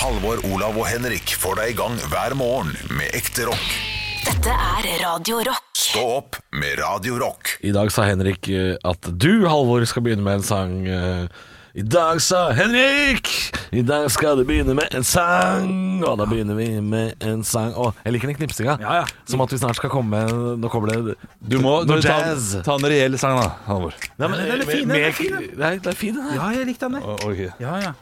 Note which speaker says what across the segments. Speaker 1: Halvor, Olav og Henrik får deg i gang hver morgen med ekte rock.
Speaker 2: Dette er Radio Rock.
Speaker 1: Stå opp med Radio Rock.
Speaker 3: I dag sa Henrik eh, at du, Halvor, skal begynne med en sang. eh, I dag sa Henrik I dag skal du begynne med en sang. Og da begynner vi med en sang. Å, jeg liker den knipsinga.
Speaker 4: Ja, ja.
Speaker 3: Som at vi snart skal komme med Nå kommer det
Speaker 4: Du må,
Speaker 3: noe
Speaker 4: ta,
Speaker 3: jazz.
Speaker 4: ta en reell sang, da, Halvor.
Speaker 3: Nei, men,
Speaker 4: Den er fin,
Speaker 3: med-
Speaker 4: den er fin, den.
Speaker 3: Nei, det er fin, den her.
Speaker 4: Ja, jeg likte den, jeg. Ja, ja.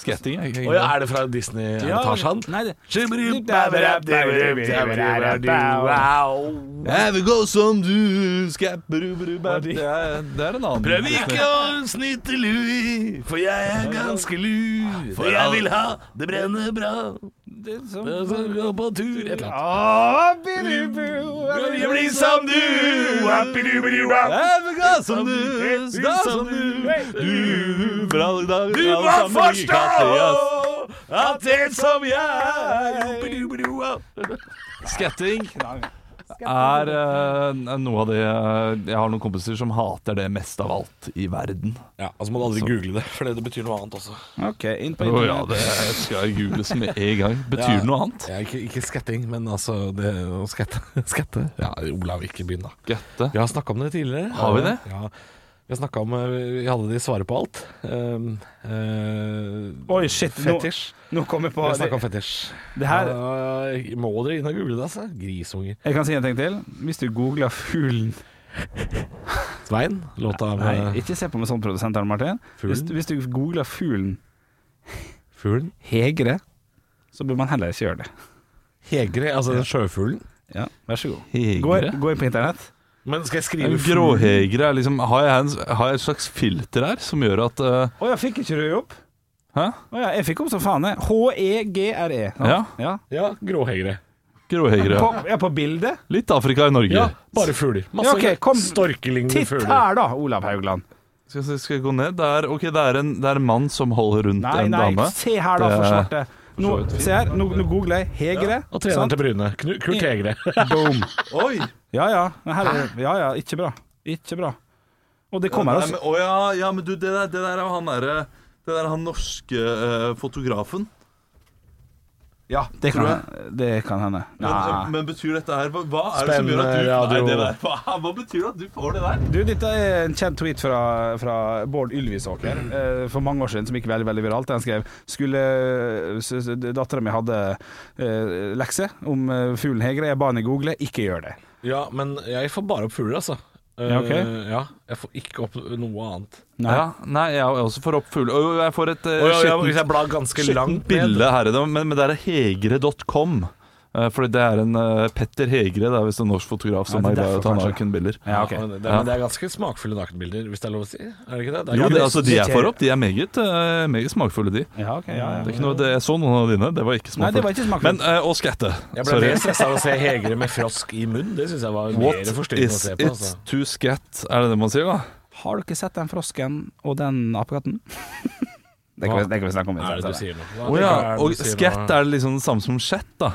Speaker 4: Sketting, jeg.
Speaker 3: Å ja, er det fra Disney? Ja, Tarzan?
Speaker 4: Nei, det
Speaker 3: Prøv
Speaker 4: Have a go som du Skabberubrubat Det er det er en annen
Speaker 3: ikke å snyte Louie, for jeg er ganske lur. For jeg vil ha det brenner bra.
Speaker 4: Det er sånn.
Speaker 3: Jeg skal gå på tur Et eller annet.
Speaker 4: Skabberubu-
Speaker 3: Jeg blir som du.
Speaker 4: Have a go som du Da som du Du bra dag
Speaker 3: Du må forstå at en som jeg
Speaker 4: Sketting er eh, noe av det eh, Jeg har noen kompiser som hater det mest av alt i verden.
Speaker 3: Ja, altså må du aldri google det, for det betyr noe annet også.
Speaker 5: Ok, inn på
Speaker 4: Å ja,
Speaker 5: internett.
Speaker 4: det skal googles med en gang. Betyr det noe annet?
Speaker 3: Ja, ikke, ikke skatting, men altså det å skatte. skatte. Ja, Olav, ikke begynn, da.
Speaker 4: Gøtte.
Speaker 3: Vi har snakka om det tidligere.
Speaker 4: Har vi det?
Speaker 3: Ja. Vi har snakket om eh, Vi hadde de svaret på alt. Um, eh,
Speaker 5: Oi, shit. Nå,
Speaker 3: fetisj.
Speaker 5: nå kom jeg på
Speaker 3: Vi har
Speaker 5: det,
Speaker 3: snakka om fetisj.
Speaker 5: det her.
Speaker 3: Ja, må dere inn og google det, altså? Grisunger.
Speaker 5: Jeg kan si en ting til. Hvis du googler fuglen
Speaker 3: Svein, eh, låta
Speaker 5: Nei,
Speaker 3: med
Speaker 5: ikke se på meg sånn, produsent Arne Martin. Hvis,
Speaker 3: Fuglen?
Speaker 5: hvis du googler fuglen
Speaker 3: fuglen.
Speaker 5: Hegre, så bør man heller ikke gjøre det.
Speaker 3: Hegre, altså den sjøfuglen.
Speaker 5: Ja, vær så god. Gå,
Speaker 4: Hegre?
Speaker 5: gå inn på internett.
Speaker 3: Men skal jeg
Speaker 4: En
Speaker 3: skrive fugl?
Speaker 4: gråhegre er liksom har jeg, en, har jeg et slags filter her som gjør at eh,
Speaker 5: Å ja, fikk ikke du opp?
Speaker 4: Hæ?
Speaker 5: Å ja, jeg fikk opp som faen, jeg. E H-e-g-r-e. sant?
Speaker 4: Ja.
Speaker 5: Ja.
Speaker 3: Ja, gråhegre.
Speaker 4: Gråhegre.
Speaker 5: På, ja, på bildet?
Speaker 4: Litt Afrika i Norge.
Speaker 3: Ja, bare fugler. Masse
Speaker 5: Ja, ok, kom.
Speaker 3: storkelignende
Speaker 5: Titt
Speaker 3: fugler.
Speaker 5: her, da, Olav Haugland.
Speaker 4: Skal, jeg se, skal jeg gå ned? Det er, ok, det er, en, det er en mann som holder rundt
Speaker 5: Nei,
Speaker 4: en
Speaker 5: nei,
Speaker 4: dame.
Speaker 5: se her, da, for svarte. Nå,
Speaker 4: så vidt
Speaker 5: se her, nå, nå googler jeg Hegre.
Speaker 3: Og treneren
Speaker 5: sant?
Speaker 3: til Bryne. Knu- Kurt Hegre.
Speaker 5: Boom.
Speaker 4: Oi!
Speaker 5: Ja ja, men her er, ja, ja, ikke bra. Ikke bra. Og det kommer,
Speaker 4: Nei,
Speaker 5: altså.
Speaker 4: men, å ja, ja, men du, det der, det der er jo han derre Det der er han norske eh, fotografen.
Speaker 5: Ja, det
Speaker 4: tror
Speaker 5: kan, det kan hende.
Speaker 4: Men, eh,
Speaker 5: Nei.
Speaker 4: men betyr dette her Hva, hva er det som
Speaker 3: Spennende
Speaker 4: gjør at du
Speaker 3: radio.
Speaker 4: Nei, det der, hva, hva betyr det at du får det der?
Speaker 5: Du, dette er en kjent tweet fra, fra Bård Ylvisåker
Speaker 4: Mm.
Speaker 5: eh, for mange år siden, som gikk veldig veldig viralt. Han skrev skulle eh, dattera mi hadde eh, lekse om eh, fuglen Hegre. Jeg ba henne google, ikke gjør det.
Speaker 3: Ja, men jeg får bare opp fugler, altså.
Speaker 5: Ja, ok.
Speaker 3: Eh, ja, jeg får ikke opp noe annet.
Speaker 5: Nei.
Speaker 4: Ja, nei, jeg også får opp fugle... Og jeg får et uh,
Speaker 3: Og jeg, hvis jeg blar ganske
Speaker 4: Skittent
Speaker 3: langt ned
Speaker 4: bilde her, i dag, men, men det er hegre.com. Eh, Fordi det er en eh, Petter Hegre, det er visst en norsk fotograf som
Speaker 5: Ja,
Speaker 4: er
Speaker 5: det
Speaker 4: glad
Speaker 5: er
Speaker 4: i å ta
Speaker 5: derfor, kanskje.
Speaker 4: nakenbilder.
Speaker 5: Ja, ok.
Speaker 3: Ja, det, er,
Speaker 4: Ja.
Speaker 3: men det er ganske smakfulle nakenbilder, hvis det er lov å si? Er det ikke det? det er
Speaker 4: Jo,
Speaker 3: ikke
Speaker 4: det,
Speaker 3: det.
Speaker 4: altså, de jeg får opp, de er meget, eh, meget smakfulle, de.
Speaker 5: Ja, ok, ja,
Speaker 4: Det er
Speaker 5: ja.
Speaker 4: ikke noe, det, jeg så noen av dine, det var ikke
Speaker 5: Nei, det
Speaker 4: smakfullt.
Speaker 5: var ikke smakfullt.
Speaker 4: Men, eh, og skatte.
Speaker 3: Jeg ble
Speaker 4: Sorry.
Speaker 3: mer stressa av å se Hegre med frosk i munn. Det syns jeg var
Speaker 4: What
Speaker 3: mer forstyrrende å
Speaker 4: is
Speaker 3: se
Speaker 4: it
Speaker 3: på. Altså.
Speaker 4: to scat, er det det man sier da?
Speaker 5: Har dere sett den frosken og den apekatten? det, kan vi, det kan vi snakke om. i
Speaker 3: Hva er det
Speaker 5: stedet.
Speaker 3: du sier nå? Hva
Speaker 4: Å ja,
Speaker 3: er det du
Speaker 4: og
Speaker 3: sier nå?
Speaker 4: skatt er det liksom det samme som sjett da.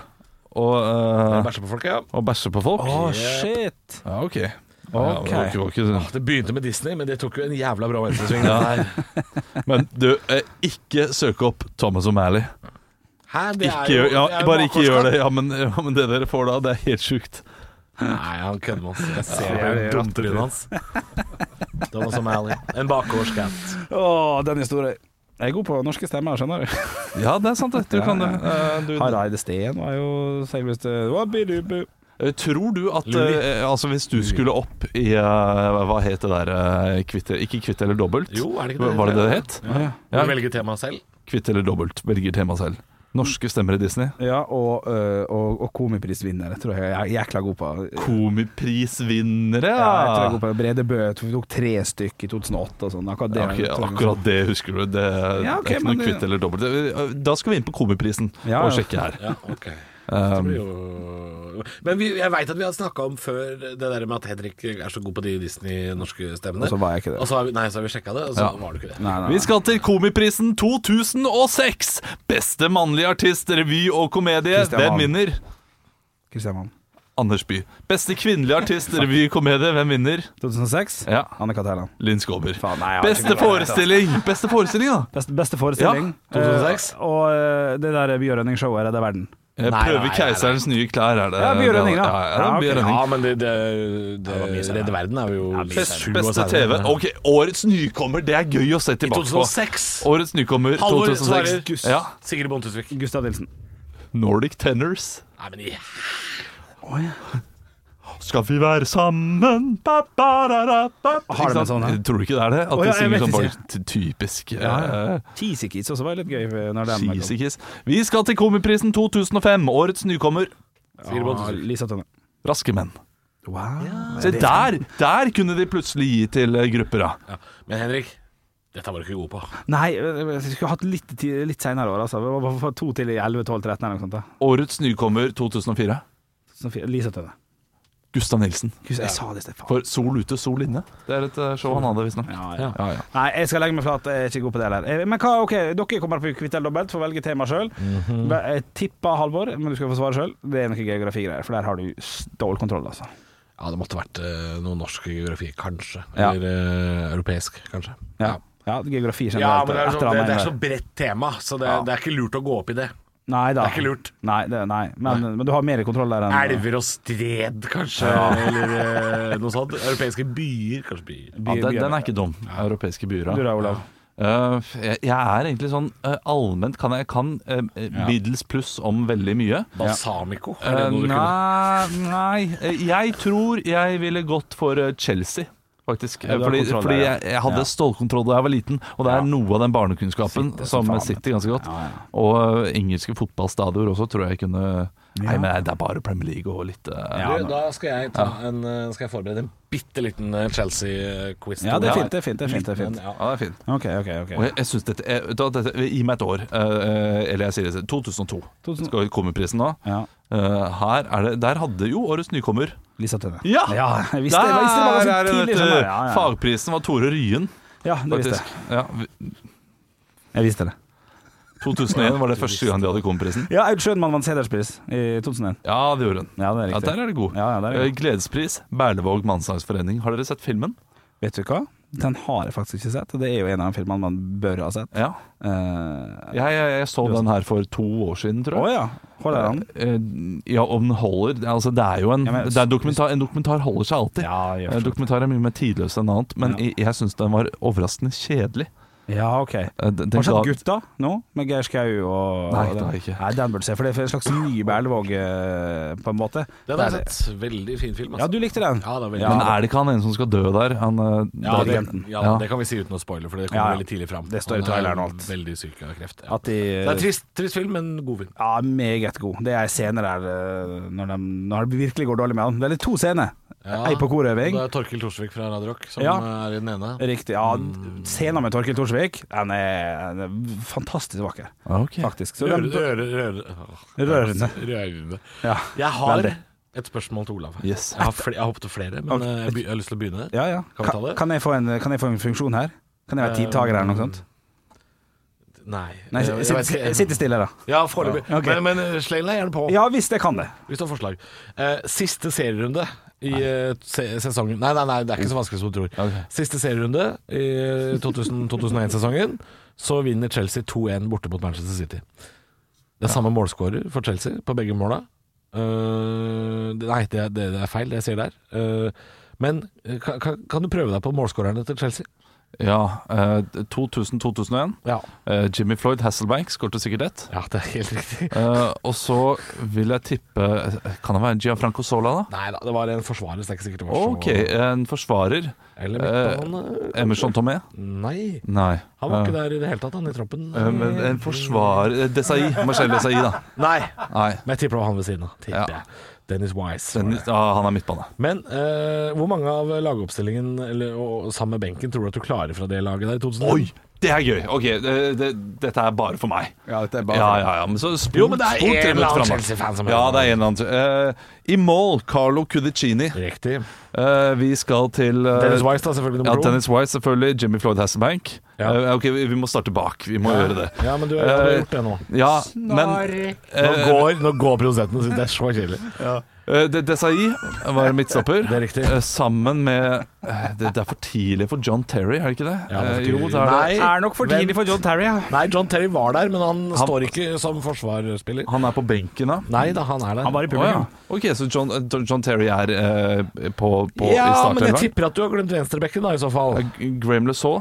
Speaker 4: Og, eh,
Speaker 3: Bæsje på folk, ja.
Speaker 4: og bæsje på folk.
Speaker 5: Å, shit!
Speaker 4: Ja, ok. Ja,
Speaker 5: Ok.
Speaker 4: det var ikke- var ikke-
Speaker 3: Det begynte med Disney, men det tok jo en jævla bra venstresving.
Speaker 4: Ja. Men du, eh, ikke søk opp Thomas O'Malley.
Speaker 3: Hæ, det er
Speaker 4: Ikke,
Speaker 3: jo-
Speaker 4: gjør- ja,
Speaker 3: det er jo
Speaker 4: bare ikke gjør
Speaker 3: bakgårdskamp.
Speaker 4: det. Ja men, ja, men det dere får da, det er helt sjukt.
Speaker 3: Nei, han kødder med oss. Jeg ser
Speaker 5: Ja,
Speaker 3: på
Speaker 5: det er
Speaker 3: dumtrynet hans. Det var som Ally. En bakgårdsskatt.
Speaker 5: Å, den historien. Jeg er god på norske stemmer, skjønner du.
Speaker 4: Ja, det er sant. det. Du kan det. Eh, du,
Speaker 5: Hareide Steen var jo selveste Wabidubu.
Speaker 4: Eh, tror du at
Speaker 3: Luri.
Speaker 4: eh, altså Hvis du skulle opp i eh, Hva het det der? eh, kvitt, ikke kvitt eller dobbelt?
Speaker 3: Jo, er det ikke det?
Speaker 4: Var det det det het?
Speaker 5: Ja.
Speaker 3: Du
Speaker 4: Ja.
Speaker 3: velger temaet selv.
Speaker 4: Kvitt eller dobbelt, velger tema selv. Norske stemmer i Disney.
Speaker 5: Ja, og, øh, og, og komiprisvinner. Det tror jeg jeg er jækla god på.
Speaker 4: Komiprisvinnere,
Speaker 5: Ja, jeg tror jeg er
Speaker 4: ja!
Speaker 5: god på Brede Bø tok tre stykk i 2008 og sånn. Akkurat det.
Speaker 4: Ok,
Speaker 5: tror jeg-
Speaker 4: akkurat det husker du. Det,
Speaker 5: Ja, ok,
Speaker 4: det er ikke
Speaker 5: men
Speaker 4: noe
Speaker 5: det-
Speaker 4: kvitt eller dobbelt. Eh, Da skal vi inn på Komiprisen
Speaker 5: Ja,
Speaker 4: og
Speaker 5: ja.
Speaker 4: sjekke her.
Speaker 3: Ja, ok Det
Speaker 4: Um,
Speaker 3: blir jo... Men vi, jeg veit at vi har snakka om før det der med at Henrik er så god på de Disney-norske stemmene.
Speaker 5: Og så var jeg ikke det.
Speaker 3: Og så har vi, nei, så har vi sjekka det, og så
Speaker 4: Ja.
Speaker 3: var du ikke det.
Speaker 5: Nei, nei,
Speaker 4: Vi
Speaker 5: nei.
Speaker 4: skal til Komiprisen 2006! Beste mannlige artist, revy og komedie.
Speaker 5: Christian Hvem
Speaker 4: Hvem
Speaker 5: Valen.
Speaker 4: vinner?
Speaker 5: Kristian Mann.
Speaker 4: Anders By. Beste kvinnelige artist, revykomedie, hvem vinner?
Speaker 5: 2006.
Speaker 4: Ja,
Speaker 5: Anne Kat. Hærland.
Speaker 4: Linn Skåber.
Speaker 5: Faen, nei, jeg har ikke altså.
Speaker 4: Beste
Speaker 5: vært
Speaker 4: forestilling! Beste forestilling, da!
Speaker 5: Beste, beste forestilling.
Speaker 3: Ja, 2006.
Speaker 5: Eh, og eh, det der Bjørønning-showet redder verden.
Speaker 4: Jeg
Speaker 3: Nei,
Speaker 4: prøver
Speaker 3: nei, nei,
Speaker 4: Keiserens nye klær, er det?
Speaker 5: Ja, Bjørn Henning, da.
Speaker 4: Ja, ja,
Speaker 5: Ja, ok.
Speaker 4: Bjørn Henning.
Speaker 3: Ja, men det, det, det,
Speaker 5: var mye senere.
Speaker 3: Redde Verden er jo
Speaker 4: Best,
Speaker 3: 20 år
Speaker 4: beste TV.
Speaker 3: senere.
Speaker 4: Ok, Årets nykommer, det er gøy å se
Speaker 3: I
Speaker 4: tilbake på.
Speaker 3: 2006.
Speaker 4: Årets nykommer
Speaker 3: Halvor
Speaker 4: 2006.
Speaker 3: svarer.
Speaker 4: Ja.
Speaker 3: Sigrid Bonde Tusvik.
Speaker 5: Gustav Nilsen.
Speaker 4: Nordic Tenors.
Speaker 3: Nei, men i
Speaker 4: Skal vi være sammen ba, ba, da, da, ba.
Speaker 5: Har de
Speaker 4: Ikke
Speaker 5: en
Speaker 4: sant?
Speaker 5: sånn, ja?
Speaker 4: Tror du ikke det er det? At
Speaker 5: Å,
Speaker 4: de
Speaker 5: ja, jeg
Speaker 4: synger
Speaker 5: vet
Speaker 4: sånn
Speaker 5: ikke.
Speaker 4: bare ty- typisk ja,
Speaker 5: Cheesy Kids også var litt gøy. eh, Når det er
Speaker 4: cheesy kiss. Vi skal til Komiprisen 2005. Årets nykommer.
Speaker 5: Sigrid Bonde Tusvik. Ja, Lisa Tønne.
Speaker 4: Raske menn.
Speaker 5: Wow.
Speaker 4: Se der! Der kunne de plutselig gi til eh, grupper, da.
Speaker 3: Ja. Men Henrik, dette var du ikke god på.
Speaker 5: Nei, jeg skulle hatt litt, ti- litt senere år, altså. Vi var for to til i 11, 12, 13 eller noe sånt. da.
Speaker 4: Årets nykommer 2004.
Speaker 5: Så fi- Lisa Tønne.
Speaker 4: Gustav Nilsen.
Speaker 5: Gud, jeg sa det, Stefan.
Speaker 4: For Sol ute, sol inne. Det er et eh, show han hadde, visstnok.
Speaker 5: Ja, ja.
Speaker 3: Ja.
Speaker 4: Ja, ja.
Speaker 5: Nei, jeg skal legge meg flat. Jeg er ikke god på det heller. Eh, Men hva, ok, dere kommer på Kvitt eller dobbelt, får velge tema sjøl. Jeg tipper Halvor, men du skal få svare sjøl. Det er noe geografigreier, for der har du stålkontroll, altså.
Speaker 3: Ja, det måtte vært eh, noe norsk geografi, kanskje.
Speaker 5: Ja.
Speaker 3: Eller eh, europeisk, kanskje.
Speaker 5: Ja, ja geografi
Speaker 3: Ja,
Speaker 5: generelt.
Speaker 3: men
Speaker 5: eh,
Speaker 3: det er,
Speaker 5: et
Speaker 3: så,
Speaker 5: eller
Speaker 3: det,
Speaker 5: annet
Speaker 3: det er sånn-
Speaker 5: med-
Speaker 3: så bredt tema, så det,
Speaker 5: Ja.
Speaker 3: det er ikke lurt å gå opp i det.
Speaker 5: Nei da.
Speaker 3: Det er ikke lurt.
Speaker 5: Nei, det, nei. Men, men du har mer kontroll der enn
Speaker 3: Elver og stred, kanskje, eller eh, noe sånt. Europeiske byer, kanskje byer.
Speaker 5: by-
Speaker 4: Ja, den,
Speaker 5: byer.
Speaker 4: den er ikke dum. Europeiske byer.
Speaker 5: Du
Speaker 4: ja.
Speaker 5: da, Olav.
Speaker 4: Eh, jeg, jeg er egentlig sånn eh, allment kan jeg kan eh, eh, middels pluss om veldig mye.
Speaker 3: Balsamico, er det
Speaker 4: Eh,
Speaker 3: noe du kunne?
Speaker 4: nei, nei eh, Jeg tror jeg ville gått for eh, Chelsea. Faktisk.
Speaker 5: Ja, du har
Speaker 4: fordi
Speaker 5: kontroll der,
Speaker 4: fordi
Speaker 5: ja.
Speaker 4: jeg, jeg hadde stålkontroll da jeg var liten, og det er noe av den barnekunnskapen
Speaker 5: Sitter som
Speaker 4: som
Speaker 5: faen.
Speaker 4: sitter ganske godt.
Speaker 5: Ja, ja.
Speaker 4: Og eh, engelske fotballstadioner også tror jeg kunne Nei, men det er bare Premier League og litt eh,
Speaker 5: Ja,
Speaker 3: Du, da skal jeg, ta en, eh, skal jeg forberede en bitte liten eh, Chelsea-quiz.
Speaker 5: Ja, det
Speaker 3: til deg.
Speaker 5: er fint. det er fint, det er fint, det er fint.
Speaker 3: Men, ja.
Speaker 4: det er fint.
Speaker 5: OK, OK. ok
Speaker 4: Og jeg, jeg synes dette, jeg, vet du hva, dette Gi meg et år. eh, eller jeg sier det 2002.
Speaker 5: 2000.
Speaker 4: Skal komme prisen da.
Speaker 5: Ja.
Speaker 4: Eh, her er det, der hadde jo årets nykommer.
Speaker 5: Lisa Tønne.
Speaker 4: Ja!
Speaker 5: jeg visste, jeg visste det
Speaker 4: Der
Speaker 5: var ganske
Speaker 4: er det, vet
Speaker 5: tidlig.
Speaker 4: du.
Speaker 5: skjønner jeg. Ja, ja.
Speaker 4: Fagprisen var Tore Ryen,
Speaker 5: ja, det visste
Speaker 4: faktisk.
Speaker 5: jeg.
Speaker 4: Ja, vi-
Speaker 5: Jeg visste det.
Speaker 4: 2001 var det første gang de hadde komprisen.
Speaker 5: Ja, Aud Schønmann vant sederspris i 2001.
Speaker 4: Ja, det gjorde hun.
Speaker 5: Ja, det er
Speaker 4: Ja,
Speaker 5: riktig.
Speaker 4: der er det god.
Speaker 5: Ja, ja, der er
Speaker 4: Eh,
Speaker 5: det.
Speaker 4: Gledespris, Berlevåg mannslagsforening. Har dere sett filmen?
Speaker 5: Vet du hva? Den har jeg faktisk ikke sett, og det er jo en av de filmene man bør ha sett.
Speaker 4: Ja.
Speaker 5: Eh,
Speaker 4: Jeg, jeg, jeg så den her for to år siden,
Speaker 5: Å
Speaker 4: tror jeg.
Speaker 5: ja, holder han?
Speaker 4: Eh, Ja, om den holder Altså, det er jo en,
Speaker 5: Ja, men-
Speaker 4: det er dokumentar, en dokumentar holder seg alltid.
Speaker 5: Ja, jeg
Speaker 4: Eh,
Speaker 5: forstår.
Speaker 4: Dokumentar er mye mer tidløs enn annet, men
Speaker 5: Ja.
Speaker 4: jeg, jeg syns den var overraskende kjedelig.
Speaker 5: ja, ok.
Speaker 4: Eh, Den, den
Speaker 5: Har du sett
Speaker 4: ga-
Speaker 5: Gutta nå, med Geir Skau og
Speaker 4: Nei,
Speaker 5: og
Speaker 4: det
Speaker 5: den-
Speaker 4: har jeg ikke.
Speaker 5: Nei, den burde du se, for det er en slags ny Berlevåg, eh, på en måte.
Speaker 3: Den har
Speaker 5: Der-
Speaker 3: jeg sett. Veldig fin film.
Speaker 5: Ja, du likte den?
Speaker 3: Ja, det er veldig
Speaker 5: Ja,
Speaker 4: Men er det ikke han en som skal dø der? Han, eh,
Speaker 3: Ja,
Speaker 4: der-
Speaker 3: det, ja,
Speaker 4: Ja.
Speaker 3: det kan vi si uten å spoile, for det kommer
Speaker 5: Ja, ja.
Speaker 3: veldig tidlig fram.
Speaker 5: Det står i
Speaker 3: Han er
Speaker 5: traileren og alt.
Speaker 3: Veldig syk av kreft. Ja.
Speaker 5: At de
Speaker 3: Det er en trist, trist film, men god film.
Speaker 5: Ja, meget god. Det er scener der eh, når, de, når det virkelig går dårlig med han. Det er litt to scener.
Speaker 3: Ja.
Speaker 5: Ei på korøving.
Speaker 3: Det er Torkil Torsvik fra Radio Rock som
Speaker 5: Ja.
Speaker 3: er i den ene.
Speaker 5: Riktig. Ja, scenen med Torkild Thorsvik, den er, den er fantastisk vakker,
Speaker 4: Ja, ok.
Speaker 5: faktisk. Så
Speaker 3: Røre,
Speaker 5: den,
Speaker 3: røre, røre.
Speaker 5: Rørende.
Speaker 3: Rørende.
Speaker 5: ja.
Speaker 3: Jeg har
Speaker 5: Veldig.
Speaker 3: et spørsmål til Olav.
Speaker 4: Yes.
Speaker 3: Jeg har, fl jeg har hoppet til flere, men eh, jeg, be jeg har lyst til å begynne.
Speaker 5: Ja, ja.
Speaker 3: Kan vi ta det? Eh,
Speaker 5: Kan, jeg få en, kan jeg få en funksjon her? Kan jeg være tidtager eller noe sånt?
Speaker 3: Nei.
Speaker 5: Nei,
Speaker 3: jeg- jeg
Speaker 5: sitt,
Speaker 3: vet ikke.
Speaker 5: sitt stille, da.
Speaker 3: Ja, foreløpig.
Speaker 5: Ja, ok.
Speaker 3: Men, men sleng deg gjerne på
Speaker 5: Ja hvis jeg kan det.
Speaker 3: hvis du har forslag. Eh, siste serierunde i eh, se sesongen Nei, nei, nei, det er ikke så vanskelig som du tror.
Speaker 4: Ok.
Speaker 3: Siste serierunde i 2001-sesongen, så vinner Chelsea 2-1 borte mot Manchester City. Det er samme målskårer for Chelsea på begge måla. Eh, det- nei, det er, det det er feil, det jeg sier der. Eh, men eh, kan, kan, kan du prøve deg på målskårerne til Chelsea?
Speaker 4: Ja, eh, 2000-2001.
Speaker 3: Ja.
Speaker 4: Eh, Jimmy Floyd Hasselbank skårte sikkert ett.
Speaker 3: ja, det er helt riktig.
Speaker 4: Eh, og så vil jeg tippe eh, Kan det være Gianfranco Sola, da?
Speaker 3: Nei da, det var en forsvarer, så det er ikke sikkert det var så
Speaker 4: Ok, Eh. en forsvarer.
Speaker 3: Eller midtbane?
Speaker 4: Emerson Tomé?
Speaker 3: Nei.
Speaker 4: Nei.
Speaker 3: Han var ikke der i det hele tatt, han i troppen.
Speaker 4: Eh, men en forsvarer eh, Desai. Marcel Desai, da.
Speaker 3: Nei.
Speaker 4: Nei.
Speaker 3: Men jeg tipper det var han ved siden av. Tipper
Speaker 4: Ja.
Speaker 3: jeg. Dennis Wise.
Speaker 4: Den, ja, han er midtbane.
Speaker 3: Men eh, hvor mange av lagoppstillingen eller, og, og sammen med benken tror du at du klarer fra det laget der i 2000?
Speaker 4: Oi! Det er gøy. Ok, det, det, dette er bare for meg.
Speaker 5: Ja, dette er
Speaker 4: Ja, ja, ja, men så spol,
Speaker 3: Jo, men det er
Speaker 4: spol
Speaker 3: en
Speaker 4: tre
Speaker 3: eller
Speaker 4: minutter
Speaker 3: annen
Speaker 4: frem, da.
Speaker 3: Chelsea-fan som
Speaker 4: Ja,
Speaker 3: hører
Speaker 4: det er en eller annen Eh, I mål, Carlo Cudicini.
Speaker 3: Riktig.
Speaker 4: Eh, vi skal til eh,
Speaker 3: Dennis Wise, da, selvfølgelig
Speaker 4: Ja,
Speaker 3: nummer to.
Speaker 4: Dennis Wise, selvfølgelig. Jimmy Floyd Hasselbank.
Speaker 3: Ja.
Speaker 4: Eh, ok, vi, vi må starte bak. Vi må gjøre det.
Speaker 3: Ja, men du, du har
Speaker 4: Eh,
Speaker 3: gjort det nå.
Speaker 4: Ja, men
Speaker 3: Nå går, nå går produsenten og syns det er så kjedelig.
Speaker 4: Eh, De Desai var midtstopper.
Speaker 3: Det er riktig.
Speaker 4: Eh, Sammen med eh, det, det er for tidlig for John Terry, er det ikke det?
Speaker 3: Ja, det er for
Speaker 4: Eh,
Speaker 3: tidlig.
Speaker 4: jo, det er det.
Speaker 3: Nei,
Speaker 5: Er nok for tidlig for John Terry, ja.
Speaker 3: Nei, John Terry var der, men han, står ikke som forsvarsspiller.
Speaker 4: Han er på benken, da.
Speaker 3: Nei da, han er der.
Speaker 5: Han var i
Speaker 4: Å ja.
Speaker 5: publikum.
Speaker 4: Ok, så John, eh, John Terry er eh, på, på i
Speaker 3: ja, men jeg
Speaker 4: startelveren?
Speaker 3: tipper at du har glemt venstrebekken, da, i så fall.
Speaker 4: Eh, Graham LeSaw.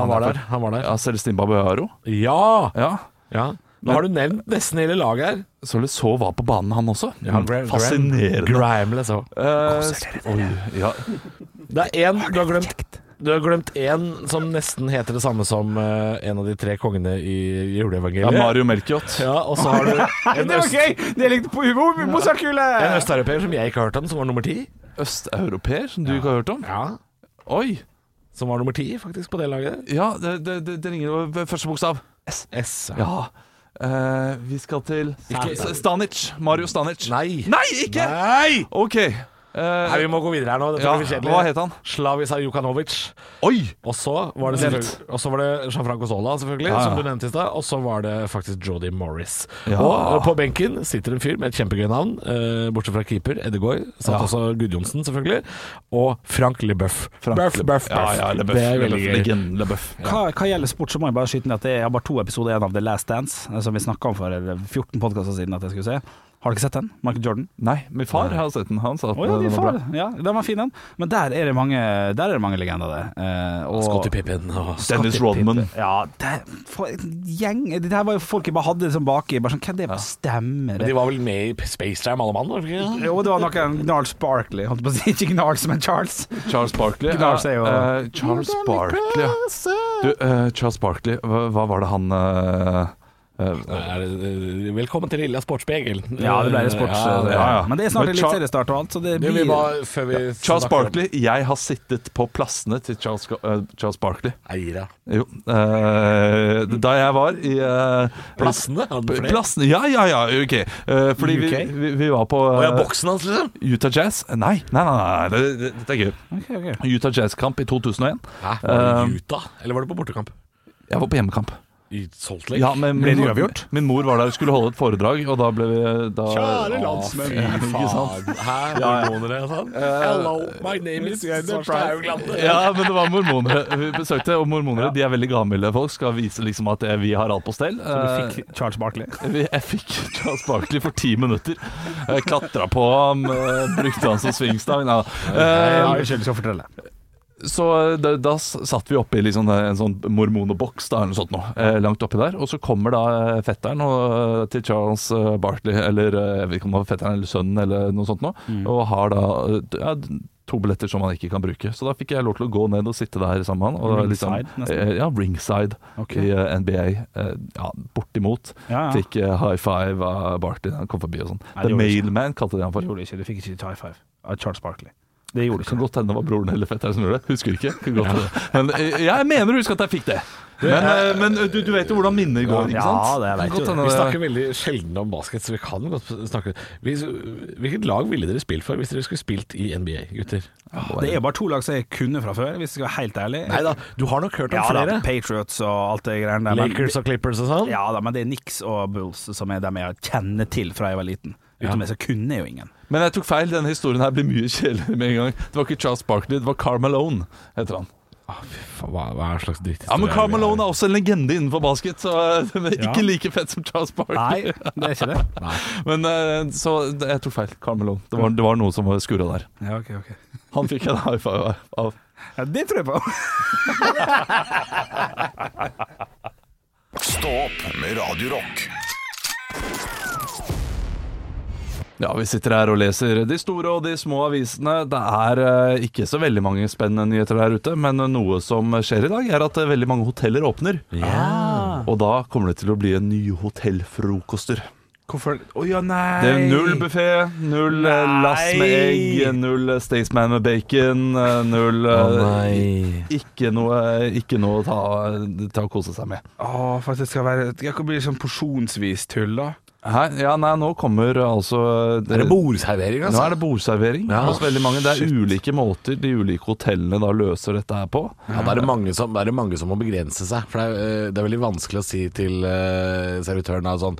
Speaker 3: Han var der. Han var der.
Speaker 4: Ja, selv Stimba Bøaro.
Speaker 3: Ja!
Speaker 4: Ja.
Speaker 3: ja. Nå har du nevnt nesten hele laget her.
Speaker 4: Så LeSaw var på banen, han også.
Speaker 3: Ja, Gra- Gra-
Speaker 4: Fascinerende.
Speaker 3: Grimele, så.
Speaker 4: Eh, oi, ja.
Speaker 3: Det er én du har glemt. Du har glemt én som nesten heter det samme som eh, en av de tre kongene i
Speaker 4: ja,
Speaker 3: juleevangeliet.
Speaker 4: Mario Melchiot.
Speaker 3: Ja, og så har du en,
Speaker 5: Det var
Speaker 3: øst,
Speaker 5: gøy! Det likte på humor! Mozartkule!
Speaker 3: en østeuropeer som jeg ikke har hørt om, som var nummer ti.
Speaker 4: Østeuropeer, som du ikke har hørt om?
Speaker 3: Ja.
Speaker 4: Oi!
Speaker 3: Som var nummer ti, faktisk, på det laget.
Speaker 4: Ja, det, det, det, det ringer over første bokstav. S.
Speaker 3: S.
Speaker 4: Ja. Eh, vi skal til
Speaker 3: Ikke-
Speaker 4: S- Stanic. Mario Stanic.
Speaker 3: Nei.
Speaker 4: Nei, ikke!
Speaker 3: Nei!
Speaker 4: OK. Eh,
Speaker 3: Nei, vi må gå videre her nå. Dette
Speaker 4: ja,
Speaker 3: blir for kjedelig.
Speaker 4: hva het han?
Speaker 3: Slavisa Jukanovic.
Speaker 4: Oi!
Speaker 3: Og så var det, selvfølgelig- og så var det Jean-Franco Zola, selvfølgelig,
Speaker 4: Ja, ja.
Speaker 3: som du nevnte i stad. Og så var det faktisk Jodie Morris.
Speaker 4: Ja.
Speaker 3: Og øh, på benken sitter en fyr med et kjempegøy navn, eh, bortsett fra keeper Eddegaard. Satt
Speaker 4: Ja.
Speaker 3: også Gudjonsen, selvfølgelig. Og Frank LeBøff.
Speaker 4: Frank
Speaker 3: Buff, buff, buff.
Speaker 4: Ja, ja, LeBeuf.
Speaker 3: Det er veldig
Speaker 4: LeBeuf,
Speaker 3: gøy.
Speaker 4: Legenden LeBeuf. Ja.
Speaker 5: Hva, hva gjelder sport, så må jeg bare skyte inn at jeg har bare to episoder igjen av The Last Dance, eh, som vi snakka om for eh, 14 podkaster siden at jeg skulle se. Har du ikke sett den? Michael Jordan?
Speaker 4: Nei, min far har sett den. Han sa at
Speaker 5: Å ja,
Speaker 4: den
Speaker 5: din
Speaker 4: var
Speaker 5: far.
Speaker 4: bra.
Speaker 5: Ja, den var fin, den. Men der er det mange, der er det mange legender, det. Eh, og-
Speaker 3: Scottie Pippen og
Speaker 4: Dennis Rodman.
Speaker 5: Ja, det, for en gjeng Det her var jo folk jeg bare hadde liksom baki. Bare sånn, Hva er det for stemmer?
Speaker 3: Men de var vel med i Spacetime, alle mann? var de ikke det?
Speaker 5: Jo, det var noen Gnarls Barkley. Holdt på å si ikke Gnarls, men Charles.
Speaker 4: Charles Barkley.
Speaker 5: Gnars er jo-
Speaker 4: Eh, eh, Charles Barkley, ja. Du, eh, Charles Barkley, hva, hva var det han eh, eh,
Speaker 3: Er det- øh, Velkommen til Lilla Sportsspegel.
Speaker 5: Ja, det ble litt sports.
Speaker 3: Ja,
Speaker 4: det- ja, ja.
Speaker 5: Men det er snart
Speaker 4: Men Char-
Speaker 5: eliteseriestart og alt, så det
Speaker 3: det
Speaker 5: blir
Speaker 3: vi var før vi snakket
Speaker 4: Charles
Speaker 3: om-
Speaker 4: Barkley, jeg har sittet på plassene til Charles, eh, Charles Barkley.
Speaker 3: Eira.
Speaker 4: Jo. eh, da jeg var i eh,
Speaker 3: Plassene? Hadde
Speaker 4: p-
Speaker 3: flere.
Speaker 4: Plassene, ja, ja, ja, ok. Eh, fordi vi,
Speaker 5: UK?
Speaker 4: vi, vi var på
Speaker 3: Å ja,
Speaker 4: eh,
Speaker 3: boksen hans, liksom?
Speaker 4: Utah Jazz. Eh, Nei, nei, nei, nei, nei det, det, dette er gøy.
Speaker 5: Ok, ok.
Speaker 4: Utah Jazz-kamp i 2001.
Speaker 3: Hæ, var
Speaker 4: Eh,
Speaker 3: det Utah? Eller var det på bortekamp?
Speaker 4: Jeg var på hjemmekamp.
Speaker 3: I Salt Lake?
Speaker 4: Ja, men
Speaker 5: Ble det
Speaker 4: min,
Speaker 5: uavgjort?
Speaker 4: min mor var der og skulle holde et foredrag, og da ble vi eh, da,
Speaker 3: Kjære
Speaker 4: Å,
Speaker 3: landsmenn,
Speaker 4: fy
Speaker 3: fy faen. Her hormonere og sånn. Hello, my name is Svarstad Haugland.
Speaker 4: Ja, men det var mormonere vi besøkte, og mormonere de er veldig gavmilde folk. Skal vise liksom at eh, vi har alt på stell.
Speaker 5: Så du fikk Charles Barkley?
Speaker 4: Eh, vi- Jeg fikk Charles Barkley for ti minutter. Jeg Klatra på ham, eh, brukte han som svingstang. Ja.
Speaker 5: Ja,
Speaker 4: Eh,
Speaker 5: unnskyld, du skal fortelle.
Speaker 4: Så da, da s- satt vi oppi liksom en sånn mormoneboks da, eller noe sånt nå, eh, langt oppi der. Og så kommer da eh, fetteren og, eh, til Charles eh, Barkley, eller eh, jeg vet ikke om det var fetteren eller sønnen eller noe sånt nå,
Speaker 5: Mm.
Speaker 4: og har da eh, d- ja, d- to billetter som han ikke kan bruke. Så da fikk jeg lov til å gå ned og sitte der sammen med han. Og
Speaker 5: Ringside,
Speaker 4: liksom,
Speaker 5: nesten.
Speaker 4: eh, ja, ringside
Speaker 5: Ok.
Speaker 4: i eh, NBA. eh, Ja, bortimot.
Speaker 5: Ja, ja.
Speaker 4: Fikk eh, high five av Barkley da han kom forbi og sånn.
Speaker 5: Nei, det
Speaker 4: The
Speaker 5: gjorde det ikke.
Speaker 4: Mailman kalte de han
Speaker 5: Du
Speaker 4: for.
Speaker 5: gjorde det ikke, du fikk ikke high five av Charles Barkley. Det gjorde du
Speaker 4: Kan
Speaker 5: ikke.
Speaker 4: godt hende det var broren eller fetteren som gjorde det. Husker ikke. Kan godt hende. Men eh, jeg mener å huske at jeg fikk det. Men, eh, men du, du vet jo hvordan minner går, ikke
Speaker 5: Ja,
Speaker 4: sant?
Speaker 5: det
Speaker 4: Kan
Speaker 5: vet
Speaker 4: godt
Speaker 5: jo
Speaker 4: hende
Speaker 3: Vi
Speaker 4: det-
Speaker 3: snakker veldig sjelden om basket, så vi kan godt snakke Hvis- Hvilket lag ville dere spilt for hvis dere skulle spilt i NBA, gutter?
Speaker 5: Det er jo bare to lag som jeg kunne fra før, hvis jeg skal være helt ærlig.
Speaker 3: Nei da, du har nok hørt om
Speaker 5: Ja da,
Speaker 3: flere.
Speaker 5: Patriots og alt det greiene der. men-
Speaker 3: Lakers og Clippers og sånn.
Speaker 5: Ja da, men det er Nix og Bulls som er dem jeg kjenner til fra jeg var liten. Utenom det så kunne jeg jo ingen.
Speaker 4: Men jeg tok feil. Denne historien her blir mye kjedeligere med en gang. Det var ikke Charles Barkley, det var Carl Malone, heter han.
Speaker 3: Ah, fy faen, Hva, hva er slags dritt?
Speaker 4: Ja, Men Carl Malone er også en legende innenfor basket, så eh, men
Speaker 5: Ja.
Speaker 4: ikke like fett som Charles Barkley.
Speaker 5: Nei, det er ikke det.
Speaker 4: Men eh, så det- jeg tok feil. Carl Malone. Det var, det var noe som var skurra der.
Speaker 5: Ja, ok, ok.
Speaker 4: Han fikk en high five av.
Speaker 5: Ja, det tror jeg på.
Speaker 1: Stå opp med Radio Rock.
Speaker 4: Ja, vi sitter her og leser de store og de små avisene. Det er eh, ikke så veldig mange spennende nyheter der ute, men noe som skjer i dag, er at eh, veldig mange hoteller åpner. Og da kommer det til å bli nye hotellfrokoster.
Speaker 5: Hvorfor? Å ja, nei!
Speaker 4: Det er null buffé, null eh, lass med egg, null eh, Staysman med bacon, eh, null eh,
Speaker 3: nei.
Speaker 4: ikke, noe, ikke noe å ta, ta og kose seg med.
Speaker 5: Å, for at det skal være Det kan bli sånn porsjonsvis tull, da.
Speaker 4: Her, ja, nei, nå kommer eh, altså eh,
Speaker 3: Er det bordservering, altså?
Speaker 4: Nå er det bordservering
Speaker 3: Ja.
Speaker 4: hos veldig mange. Det er ulike måter de ulike hotellene da løser dette her på.
Speaker 3: Ja, da er det mange som, da er det mange som må begrense seg. For det er, eh, det er veldig vanskelig å si til eh, servitøren da, sånn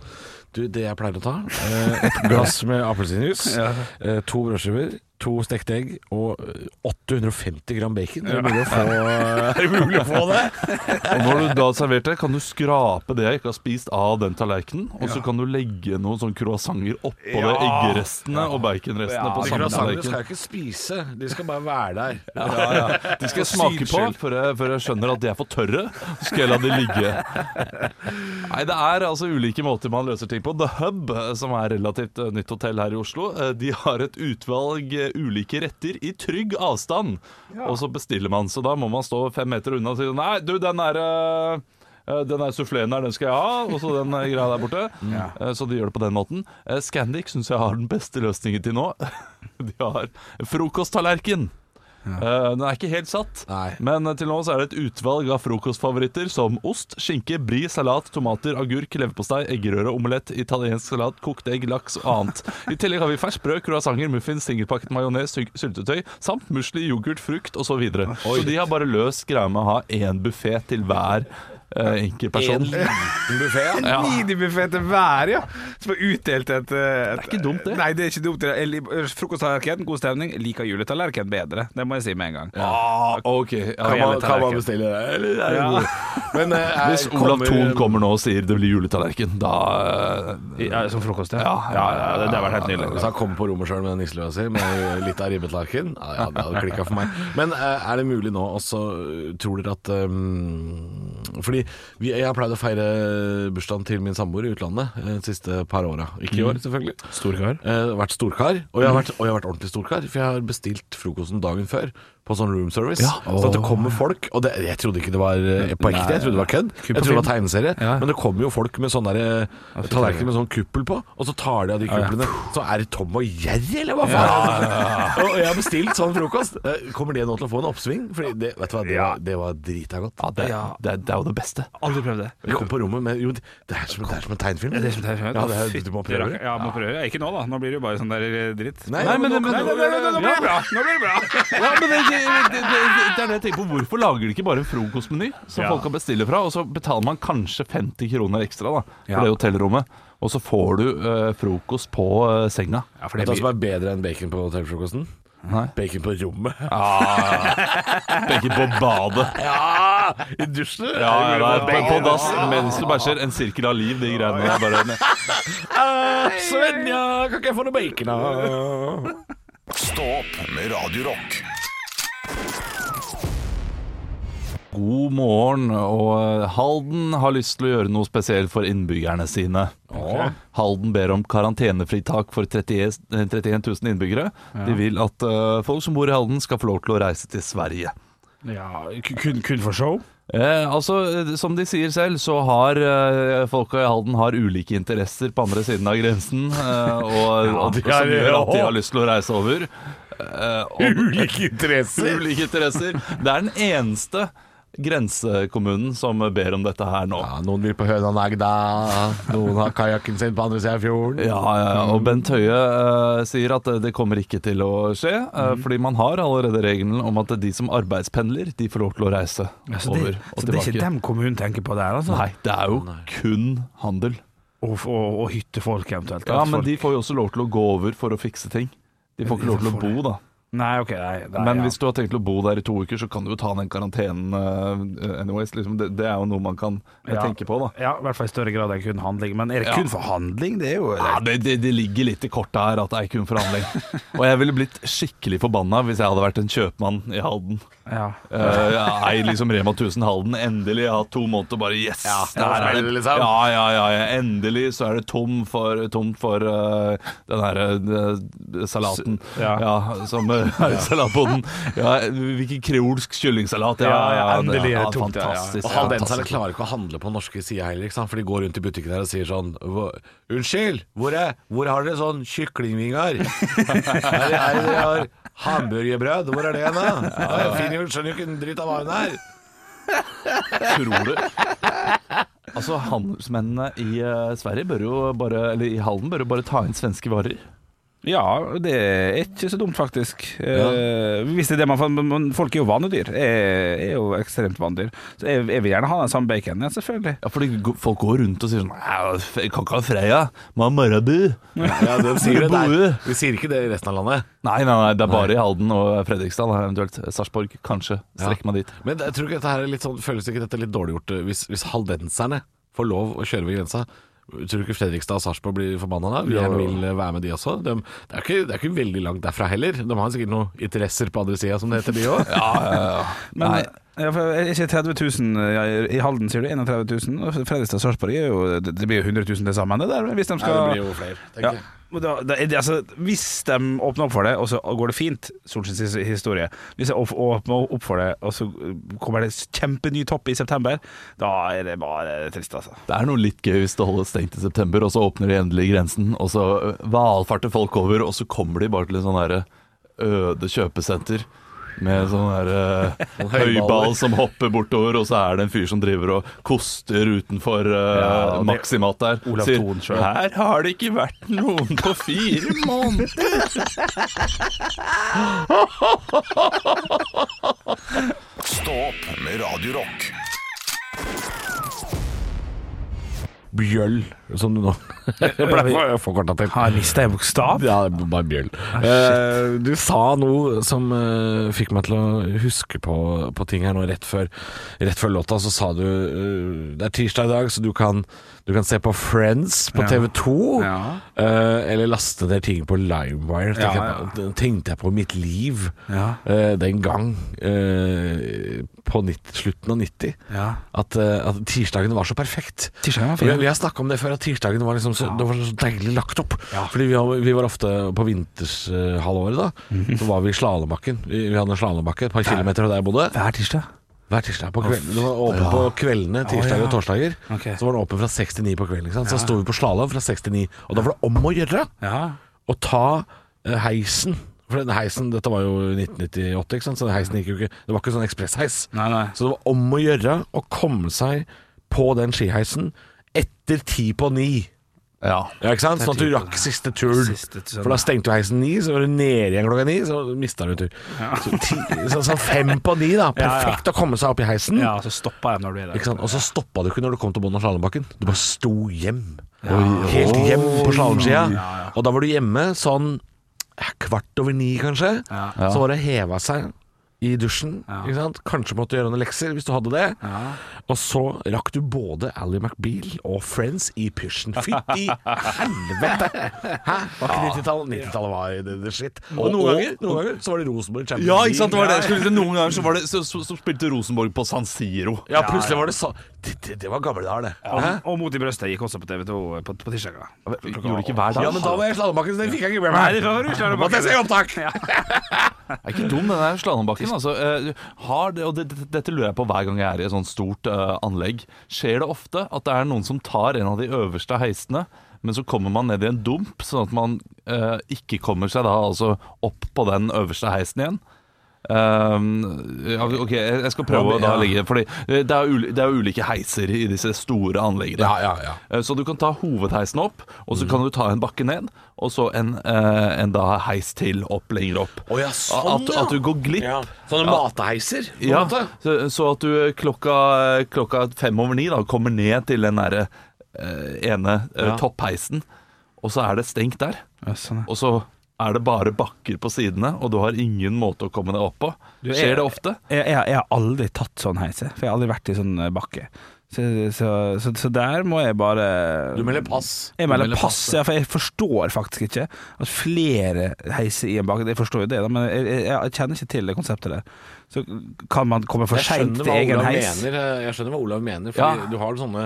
Speaker 3: Du, det jeg pleier å ta eh, Et glass med appelsinjuice, eh, to brødskiver, to stekte egg og eh, 850 gram bacon. Er det mulig å få, er det, mulig å få det?
Speaker 4: Og når du da har servert det, kan du skrape det jeg ikke har spist av den tallerkenen, og så kan du legge noen sånne croissanter oppå det eggerestene og baconrestene
Speaker 5: Ja,
Speaker 4: på
Speaker 5: de
Speaker 4: samme
Speaker 3: Croissantene skal
Speaker 4: tallerken.
Speaker 3: jeg ikke spise, de skal bare være der.
Speaker 4: De skal jeg smake på før jeg, før jeg skjønner at de er for tørre. Så skal jeg la de ligge. Nei, det er altså ulike måter man løser ting på. The Hub, eh, som er relativt eh, nytt hotell her i Oslo, eh, de har et utvalg eh, ulike retter i trygg avstand. Og så bestiller man, så da må man stå fem meter unna og si Nei, du, den er eh, eh, den der suffleen der, den skal jeg ha, og så den eh, greia der borte. Eh, Så de gjør det på den måten. Eh, Scandic syns jeg har den beste løsningen til nå. De har frokosttallerken. Eh, Den er ikke helt satt,
Speaker 3: Nei.
Speaker 4: men til nå så er det et utvalg av frokostfavoritter som ost, skinke, bri, salat, tomater, agurk, leverpostei, eggerøre, omelett, italiensk salat, kokt egg, laks og annet. I tillegg har vi ferskt brød, croissanter, muffins, singelpakket majones, syl- syltetøy samt musli, yoghurt, frukt osv. Så, videre. så de har bare løst greia med å ha én buffé til hver eh, enkelt person.
Speaker 3: En liten buffé. ja.
Speaker 4: Ja.
Speaker 5: Minibuffé til hver, ja! Som er utdelt et, Det
Speaker 4: er ikke dumt, det.
Speaker 5: Nei, det er ikke dumt. det. Jeg lik- Frokosttallerken, god stemning. Liker juletallerken bedre. Det må jeg si med en gang.
Speaker 4: Ah, ok. Ja,
Speaker 3: Kan man, kan man
Speaker 4: tallerken.
Speaker 3: bestille det? Eller, er det god? Men, eh, her
Speaker 4: Hvis Olav Thon kommer nå og sier det blir juletallerken, da eh,
Speaker 5: som frokost,
Speaker 4: Ja, ja, ja, det- det har vært helt nydelig.
Speaker 3: Hvis han kommer på rommet sjøl med den nisselua si, med litt av ribbetlaken ja, ja, Det hadde klikka for meg. Men eh, er det mulig nå også, eh, tror dere at eh, Fordi vi, jeg har pleid å feire bursdagen til min samboer i utlandet eh, de siste par åra. Ikke i år, selvfølgelig.
Speaker 5: Storkar.
Speaker 3: Eh, vært storkar, og jeg, har vært, og jeg har vært ordentlig storkar. For jeg har bestilt frokosten dagen før på sånn room service.
Speaker 4: Ja.
Speaker 3: Så at det kommer folk Og det, jeg trodde ikke det var eh, på ekte, jeg trodde det var kødd. Jeg trodde det var tegneserie.
Speaker 5: Ja.
Speaker 3: Men det kommer jo folk med sånne der, eh, tallerkener med sånn kuppel på, og så tar de av de kuplene. Så er det Tom og Jerry, eller hva faen? og jeg har bestilt sånn frokost. Eh, Kommer det nå til å få en oppsving? Fordi det, vet du hva, det var, det var drita godt.
Speaker 4: ja, det, det, det er jo det beste.
Speaker 5: Aldri prøvd det.
Speaker 3: Vi kom på rommet med Jo, det er som, det er som en tegnefilm.
Speaker 5: Ja, det er som det er.
Speaker 3: Ja, det er, du må prøve det.
Speaker 5: Ja, må prøve. Ja, ikke nå, da. Nå blir det jo bare sånn der dritt.
Speaker 3: Nei,
Speaker 4: men-
Speaker 5: Nå- nei, nei, nei, nei, nå blir det bra! Nå blir det bra.
Speaker 4: Ja, men det, det, det, det, det er det jeg tenker på. Hvorfor lager de ikke bare en frokostmeny som
Speaker 5: Ja.
Speaker 4: folk kan bestille fra, og så betaler man kanskje 50 kroner ekstra da, for
Speaker 5: Ja.
Speaker 4: det hotellrommet, og så får du eh, frokost på eh, senga?
Speaker 5: Ja, for
Speaker 3: Vet
Speaker 5: det
Speaker 3: du hva som
Speaker 5: blir...
Speaker 3: er bedre enn bacon på hotellfrokosten? Bacon på rommet.
Speaker 4: Begge på badet.
Speaker 3: Ja! I dusjen?
Speaker 4: Ja, ja, ja, på, på dass mens du bæsjer. En sirkel av liv, de greiene der. Bare,
Speaker 3: Svenja, kan ikke jeg få noe bacon? da?
Speaker 1: Stå opp med Radio Rock.
Speaker 4: God morgen, og eh, Halden har lyst til å gjøre noe spesielt for innbyggerne sine. Halden ber om karantenefritak for 31 31 000 innbyggere. De vil at eh, folk som bor i Halden skal få lov til å reise til Sverige.
Speaker 5: ja, kun, kun for show?
Speaker 4: Eh, altså, eh, Som de sier selv, så har eh, folka i Halden har ulike interesser på andre siden av grensen. Eh, og, og
Speaker 3: de
Speaker 4: Som
Speaker 3: er-
Speaker 4: gjør at de har lyst til å reise over. Eh, og,
Speaker 3: Ulike interesser!
Speaker 4: ulike interesser. Det er den eneste grensekommunen som ber om dette her nå.
Speaker 3: Ja, noen vil på Hønanagda, noen har kajakken sin på andre sida av fjorden.
Speaker 4: Ja, ja, ja, og Bent Høie eh, sier at eh, det kommer ikke til å skje, eh,
Speaker 5: Mhm.
Speaker 4: fordi man har allerede regelen om at de som arbeidspendler, de får lov til å reise
Speaker 5: Så Altså, det,
Speaker 4: over og
Speaker 5: så det er ikke
Speaker 4: tilbake.
Speaker 5: dem kommunen tenker på der, altså?
Speaker 4: Nei, det er jo kun handel.
Speaker 5: Og, og, og hyttefolk, eventuelt.
Speaker 4: Ja, men
Speaker 5: altså Folk-
Speaker 4: de får jo også lov til å gå over for å fikse ting. De får ikke lov til å bo, da.
Speaker 5: Nei, ok, nei, nei,
Speaker 4: Men
Speaker 5: ja.
Speaker 4: hvis du har tenkt å bo der i to uker, så kan du jo ta den karantenen eh, anyways. Liksom. Det, det er jo noe man kan eh,
Speaker 5: Ja.
Speaker 4: tenke på, da.
Speaker 5: Ja, i hvert fall i større grad enn kun handling. Men er det
Speaker 4: Ja.
Speaker 5: kun for handling? Det er jo
Speaker 4: Ja, det, det, det ligger litt i kortet her at det er kun forhandling. Og jeg ville blitt skikkelig forbanna hvis jeg hadde vært en kjøpmann i Halden.
Speaker 5: Ja.
Speaker 4: Eh, jeg eier liksom Rema 1000 Halden. Endelig, jeg har hatt to måneder og bare Yes!
Speaker 3: Ja,
Speaker 4: der
Speaker 3: nå
Speaker 4: er
Speaker 3: smeller det, liksom.
Speaker 4: ja, ja, ja, ja. Endelig så er det tom for, tomt for eh, den her eh, salaten. Ja.
Speaker 5: Ja.
Speaker 4: som eh, er i salatboden. Ja, hvilken kreolsk kyllingsalat. Ja,
Speaker 5: Ja,
Speaker 4: ja,
Speaker 5: ja, endelig er det
Speaker 4: ja,
Speaker 5: tomt, ja, ja.
Speaker 4: fantastisk.
Speaker 3: Og haldenserne klarer ikke å handle på norske sider heller, ikke sant? for de går rundt i butikken her og sier sånn «Hva- Unnskyld, hvor, er, hvor har dere sånn kyklingvinger? Her er det dere har hamburgerbrød, hvor er det hen da? Ja, jeg finner jo, skjønner jo ikke en dritt av hva den er.
Speaker 4: Tror du Altså, handelsmennene i eh, Sverige bør jo bare Eller i Halden bør jo bare ta inn svenske varer.
Speaker 5: Ja, det er ikke så dumt, faktisk. Eh, hvis det er det man, man Folk er jo vanedyr. Jeg er jo ekstremt vanedyr. Så jeg, jeg vil gjerne ha den samme baconen, ja, selvfølgelig.
Speaker 4: Ja, fordi go- folk går rundt og sier sånn Nei, jeg kan ikke ha Freia, man har Marabu.
Speaker 3: Ja, de sier det
Speaker 4: Boe.
Speaker 3: der. Vi sier ikke det i resten av landet.
Speaker 4: Nei, nei, nei, det er bare i Halden og Fredrikstad, da, eventuelt Sarpsborg. Kanskje. Strekk meg dit.
Speaker 3: Men jeg tror ikke dette her er litt sånn, føles ikke dette litt dårlig gjort eh, hvis, hvis haldenserne får lov å kjøre ved grensa? Tror du ikke Fredrikstad og Sarpsborg blir forbanna da? Vi
Speaker 4: Jo.
Speaker 3: gjerne vil eh, være med de også. De, det, er ikke, det er ikke veldig langt derfra heller. De har sikkert noen interesser på andre sida, som det heter, de òg.
Speaker 4: Ja, ja, ja.
Speaker 5: Men eh,
Speaker 4: Nei.
Speaker 5: ja, for er ikke 30 000 ja, i Halden, sier du? 31 000? Og Fredrikstad og Sarpsborg er jo Det det blir jo 100 000 til sammen, det der. Hvis de skal
Speaker 3: jo flere,
Speaker 5: Ja. Og Da, da, er det- altså, hvis de åpner opp for det, og så går det fint, Solskjens his- historie Hvis de åp- åpner opp for det, og så kommer det kjempeny topp i september, da er det bare trist, altså.
Speaker 4: Det er noe litt gøy hvis det holdes stengt i september, og så åpner de endelig grensen, og så øh, valfarter folk over, og så kommer de bare til en sånn derre øde kjøpesenter. Med sånn der eh, høyball som hopper bortover, og så er det en fyr som driver og koster utenfor eh,
Speaker 5: Ja, og det-
Speaker 4: Maximat der.
Speaker 5: Olav
Speaker 4: Sier,
Speaker 5: Thon selv.
Speaker 4: Her har det ikke vært noen på fire måneder!
Speaker 1: Stå opp med Radio Rock.
Speaker 3: Bjøll, som du nå pleier å få korta til.
Speaker 5: Har jeg mista en bokstav?
Speaker 3: Ja, det er bare bjøll.
Speaker 5: Ah,
Speaker 3: Eh, du sa noe som eh, fikk meg til å huske på, på ting her nå rett før, rett før låta. Så sa du eh, det er tirsdag i dag, så du kan, du kan se på Friends på
Speaker 5: Ja.
Speaker 3: TV2.
Speaker 5: Ja.
Speaker 3: eh, eller laste ned ting på Limewire.
Speaker 5: Ja,
Speaker 3: Tenkte, jeg på- det tenkte jeg på mitt liv
Speaker 5: Ja.
Speaker 3: eh, den gang, eh, på nitt, slutten av 90.
Speaker 5: Ja.
Speaker 3: At, eh, at tirsdagen var så perfekt.
Speaker 5: Tirsdagen var fin.
Speaker 3: Vi, vi har snakka om det før, at tirsdagen var, liksom så, det var så deilig lagt opp. Fordi vi, har- vi var ofte på vintershalvåret da.
Speaker 5: Mhm.
Speaker 3: Så var vi i slalåmbakken. Vi, vi hadde en slalåmbakke et par kilometer fra der jeg bodde.
Speaker 5: Hver tirsdag.
Speaker 3: Hver tirsdag på kvelden. Det var åpen på kveldene, tirsdager og torsdager.
Speaker 5: Ok.
Speaker 3: Så var det åpen fra seks til ni på kvelden. Ikke sant? Så sto vi på slalåm fra seks til ni. Og da var det om å gjøre
Speaker 5: Ja.
Speaker 3: å ta eh, heisen. For den heisen, Dette var jo 1998, ikke sant? så den heisen gikk jo ikke Det var ikke sånn ekspressheis.
Speaker 5: Nei, nei.
Speaker 3: Så det var om å gjøre å komme seg på den skiheisen etter ti på ni.
Speaker 4: Ja.
Speaker 3: Ja, ikke sant? Sånn at du rakk siste turen.
Speaker 5: Siste turen.
Speaker 3: For da stengte jo heisen ni, så var du nede igjen klokka ni, så mista du tur. Så, ti, så, så fem på ni, da.
Speaker 5: Ja, ja.
Speaker 3: Perfekt å komme seg opp i heisen.
Speaker 5: Ja, så stoppa jeg når du er der.
Speaker 3: Ikke sant? Og så stoppa du ikke når du kom til bunnen av slalåmbakken. Du bare sto hjem. Helt hjem på slalåmskia. Og da var du hjemme sånn eh, kvart over ni, kanskje. Så var det heva seg i dusjen. Ikke sant? Kanskje måtte gjøre noen lekser, hvis du hadde det. Og så rakk du både Ally McBeal og Friends i pysjen. Fytti helvete! Hæ? Var ikke 90-tallet? 90-tallet var det, det shit. Og noen ganger, noen ganger så var det Rosenborg Champions
Speaker 4: Ja, ikke sant, det var det jeg
Speaker 3: League.
Speaker 4: skulle si. Noen ganger så, var det, så, så, så spilte Rosenborg på San Siro.
Speaker 3: Ja, plutselig var det sånn. Det, det, det var gamle dager, det. Hæ?
Speaker 5: Og, og Mot i brøstet gikk også på TV2 på, på tirsdager.
Speaker 4: Gjorde det ikke hver dag?
Speaker 3: Ja, men da var jeg slalåmbakken, så den fikk jeg ikke med
Speaker 5: Nei,
Speaker 3: meg.
Speaker 5: det var du slalåmbakken.
Speaker 3: Måtte jeg se opptak!
Speaker 4: Det er ikke dum, den der slalåmbakken. Altså. Eh, Har det, og det, det- dette lurer jeg på hver gang jeg er i et sånt stort eh, anlegg. Skjer det ofte at det er noen som tar en av de øverste heisene, men så kommer man ned i en dump, sånn at man eh, ikke kommer seg da altså opp på den øverste heisen igjen? Eh, ja, ok, jeg jeg skal prøve å da legge Fordi eh, det er, uli, det er jo ulike heiser i disse store anleggene.
Speaker 3: Ja, ja, ja.
Speaker 4: Eh, Så du kan ta hovedheisen opp, og så kan du ta en bakke ned, og så en, eh, en da heis til opp lenger opp.
Speaker 3: Å ja, sånn,
Speaker 4: at,
Speaker 3: ja.
Speaker 4: at du går glipp. Ja.
Speaker 3: Sånne mateheiser, på en måte.
Speaker 4: så, så at du eh, klokka, klokka fem over ni da, kommer ned til den der, eh, ene eh, toppheisen, og så er det stengt der.
Speaker 5: Ja, sånn, ja.
Speaker 4: Og så er det bare bakker på sidene, og du har ingen måte å komme deg opp på.
Speaker 5: Du, jeg-
Speaker 4: Skjer det ofte?
Speaker 5: Jeg, jeg, jeg har aldri tatt sånn heis, jeg, for jeg har aldri vært i sånn eh, bakke. Så, så, så, så der må jeg bare
Speaker 3: Du melder pass.
Speaker 5: Jeg melder
Speaker 4: melder
Speaker 5: pass,
Speaker 4: pass,
Speaker 5: ja, for jeg forstår faktisk ikke at flere heiser i en bakke. Jeg forstår jo det, da, men jeg, jeg, jeg kjenner ikke til det konseptet der. Så kan man komme for
Speaker 3: Jeg
Speaker 5: seint
Speaker 3: skjønner,
Speaker 5: til
Speaker 3: hva
Speaker 5: egen
Speaker 3: Olav
Speaker 5: heis?
Speaker 3: mener, eh, jeg skjønner hva Olav mener, for
Speaker 4: Ja.
Speaker 3: du har sånne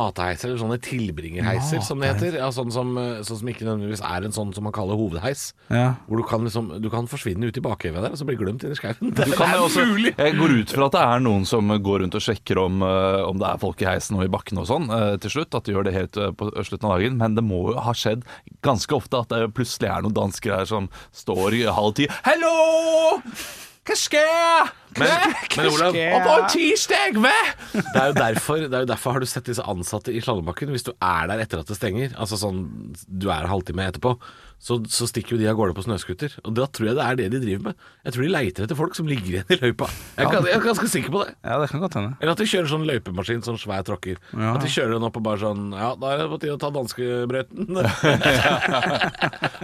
Speaker 3: mateheiser, eller sånne tilbringerheiser, som det heter. Ja, sånn, som, eh, sånn som ikke nødvendigvis er en sånn som man kaller hovedheis.
Speaker 5: Ja.
Speaker 3: Hvor du kan, liksom, du kan forsvinne ut i bakhevet der, og så bli glemt inni skauen.
Speaker 4: Du kan jo også, jeg går ut fra at det er noen som går rundt og sjekker om, eh, om det er folk i heisen og i bakken og sånn eh, til slutt. At de gjør det helt eh, på slutten av dagen. Men det må jo ha skjedd ganske ofte at det plutselig er noen dansker her som står i halv ti. Hello! Hva skjer?
Speaker 3: Men, men Olav,
Speaker 5: Ja.
Speaker 4: tirsdag, hva?
Speaker 3: det er, jo derfor, det er jo derfor har du sett disse ansatte i slalåmbakken. Hvis du er der etter at det stenger, altså sånn du er en halvtime etterpå, så, så stikker jo de av gårde på snøscooter. Og da tror jeg det er det de driver med. Jeg tror de leiter etter folk som ligger igjen i løypa. Jeg, er gans- jeg er ganske sikker på det.
Speaker 5: Ja, det kan godt hende.
Speaker 3: Eller at de kjører sånn løypemaskin, sånn svær tråkker. At de kjører den opp og bare sånn Ja, da er det på tide å ta danskebrøyten.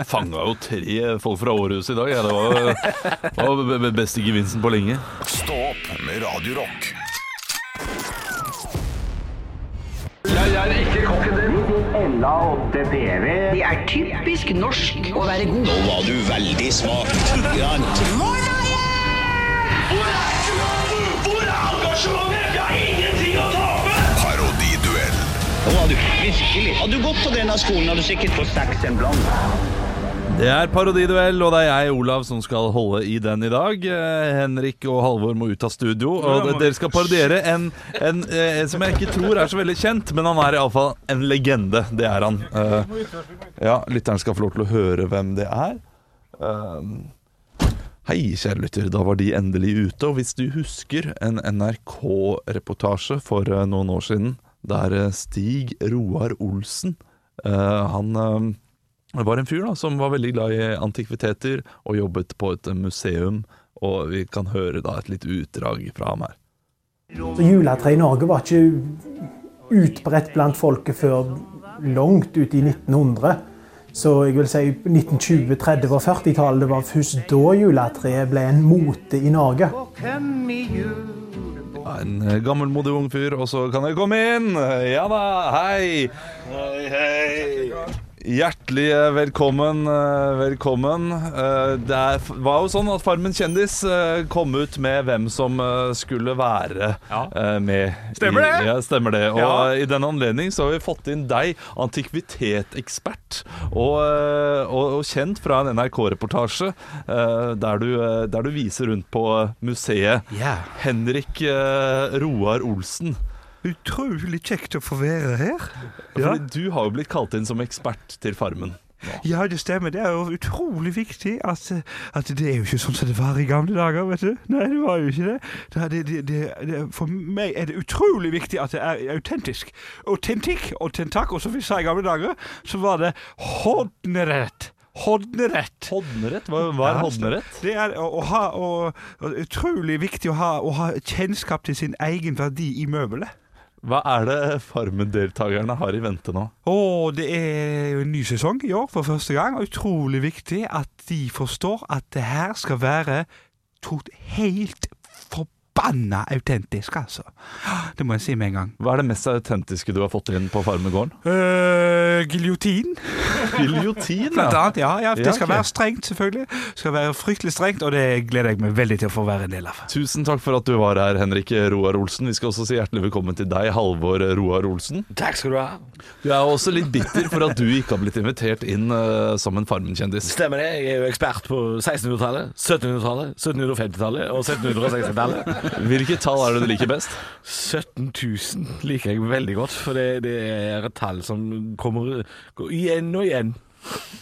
Speaker 4: Fanga jo tre folk fra Århus i dag. Ja, det var, var b- b- beste gevinsten på lenge.
Speaker 1: Stå opp med Radio Rock.
Speaker 6: Ella 8 PV. Det er typisk norsk å være god.
Speaker 7: Nå var du veldig smak. Hvor er engasjementet? Jeg har ingenting å tape!
Speaker 1: Parodiduell.
Speaker 7: Nå var du virkelig. Hadde du gått på denne skolen, hadde du sikkert fått seks en blant.
Speaker 4: Det er parodiduell, og det er jeg, Olav, som skal holde i den i dag. Eh, Henrik og Halvor må ut av studio, og de- dere skal parodiere en, en eh, som jeg ikke tror er så veldig kjent, men han er iallfall en legende. Det er han. Eh, ja, lytteren skal få lov til å høre hvem det er. Um, Hei, kjære lytter. Da var de endelig ute. Og hvis du husker en NRK-reportasje for eh, noen år siden, der eh, Stig Roar Olsen eh, Han eh, var en fyr da, som var veldig glad i antikviteter og jobbet på et museum. Og vi kan høre da et litt utdrag fra ham her.
Speaker 8: Så juletre i Norge var ikke utbredt blant folket før langt ut i 1900. Så jeg vil si 1920-, 30- og 40-tallet det var først da juletreet ble en mote i Norge.
Speaker 4: Ja, en eh, gammelmodig ung fyr, og så kan dere komme inn! Ja da, hei! Hjertelig eh, velkommen. eh, velkommen. Eh, Det er, var jo sånn at Farmen kjendis eh, kom ut med hvem som eh, skulle være eh, med.
Speaker 5: Stemmer
Speaker 4: i-
Speaker 5: det?
Speaker 4: Ja, stemmer det. Og
Speaker 5: Ja.
Speaker 4: eh, i den anledning så har vi fått inn deg, antikvitetsekspert, og, eh, og, og kjent fra en NRK-reportasje eh, der, du, eh, der du viser rundt på eh, museet. Henrik eh, Roar Olsen.
Speaker 9: Utrolig kjekt å få være her. Ja.
Speaker 4: Fordi Du har jo blitt kalt inn som ekspert til Farmen.
Speaker 9: ja, det stemmer. Det er jo utrolig viktig at, eh, at det er jo ikke sånn som det var i gamle dager, vet du. Nei, det var jo ikke det. Det, er- det, det, det, det for meg er det utrolig viktig at det er autentisk. Autentikk og tentakk, og som vi sa i gamle dager, så var det hodnerett. Hodnerett.
Speaker 4: Hodnerett? Hva, hva er
Speaker 9: Ja,
Speaker 4: hodnerett?
Speaker 9: Det er å, å ha, å, å, utrolig viktig å ha, å ha kjennskap til sin egen verdi i møbelet.
Speaker 4: Hva er det Farmen-deltakerne har i vente nå?
Speaker 9: Og det er jo en ny sesong i år for første gang, og utrolig viktig at de forstår at det her skal være to helt forbanna autentisk, altså. Det må jeg si med en gang.
Speaker 4: Hva er det mest autentiske du har fått inn på Farmegården?
Speaker 9: Uh, Giljotin,
Speaker 4: Giljotin,
Speaker 9: blant
Speaker 4: ja.
Speaker 9: annet. Ja, ja, det
Speaker 4: Ja,
Speaker 9: skal
Speaker 4: ok.
Speaker 9: være strengt, selvfølgelig. Det skal være fryktelig strengt, og det gleder jeg meg veldig til å få være en del av.
Speaker 4: Tusen takk for at du var her, Henrik Roar Olsen. Vi skal også si hjertelig velkommen til deg, Halvor Roar Olsen.
Speaker 3: Takk skal du ha.
Speaker 4: Du er også litt bitter for at du ikke har blitt invitert inn eh, som en Farmen-kjendis.
Speaker 3: Stemmer det. Jeg er jo ekspert på 1600-tallet, 1700-tallet, 1750-tallet og 1760-tallet.
Speaker 4: Hvilket tall er det du liker best?
Speaker 3: 17 000 liker jeg veldig godt, for det, det er et tall som kommer går igjen og igjen.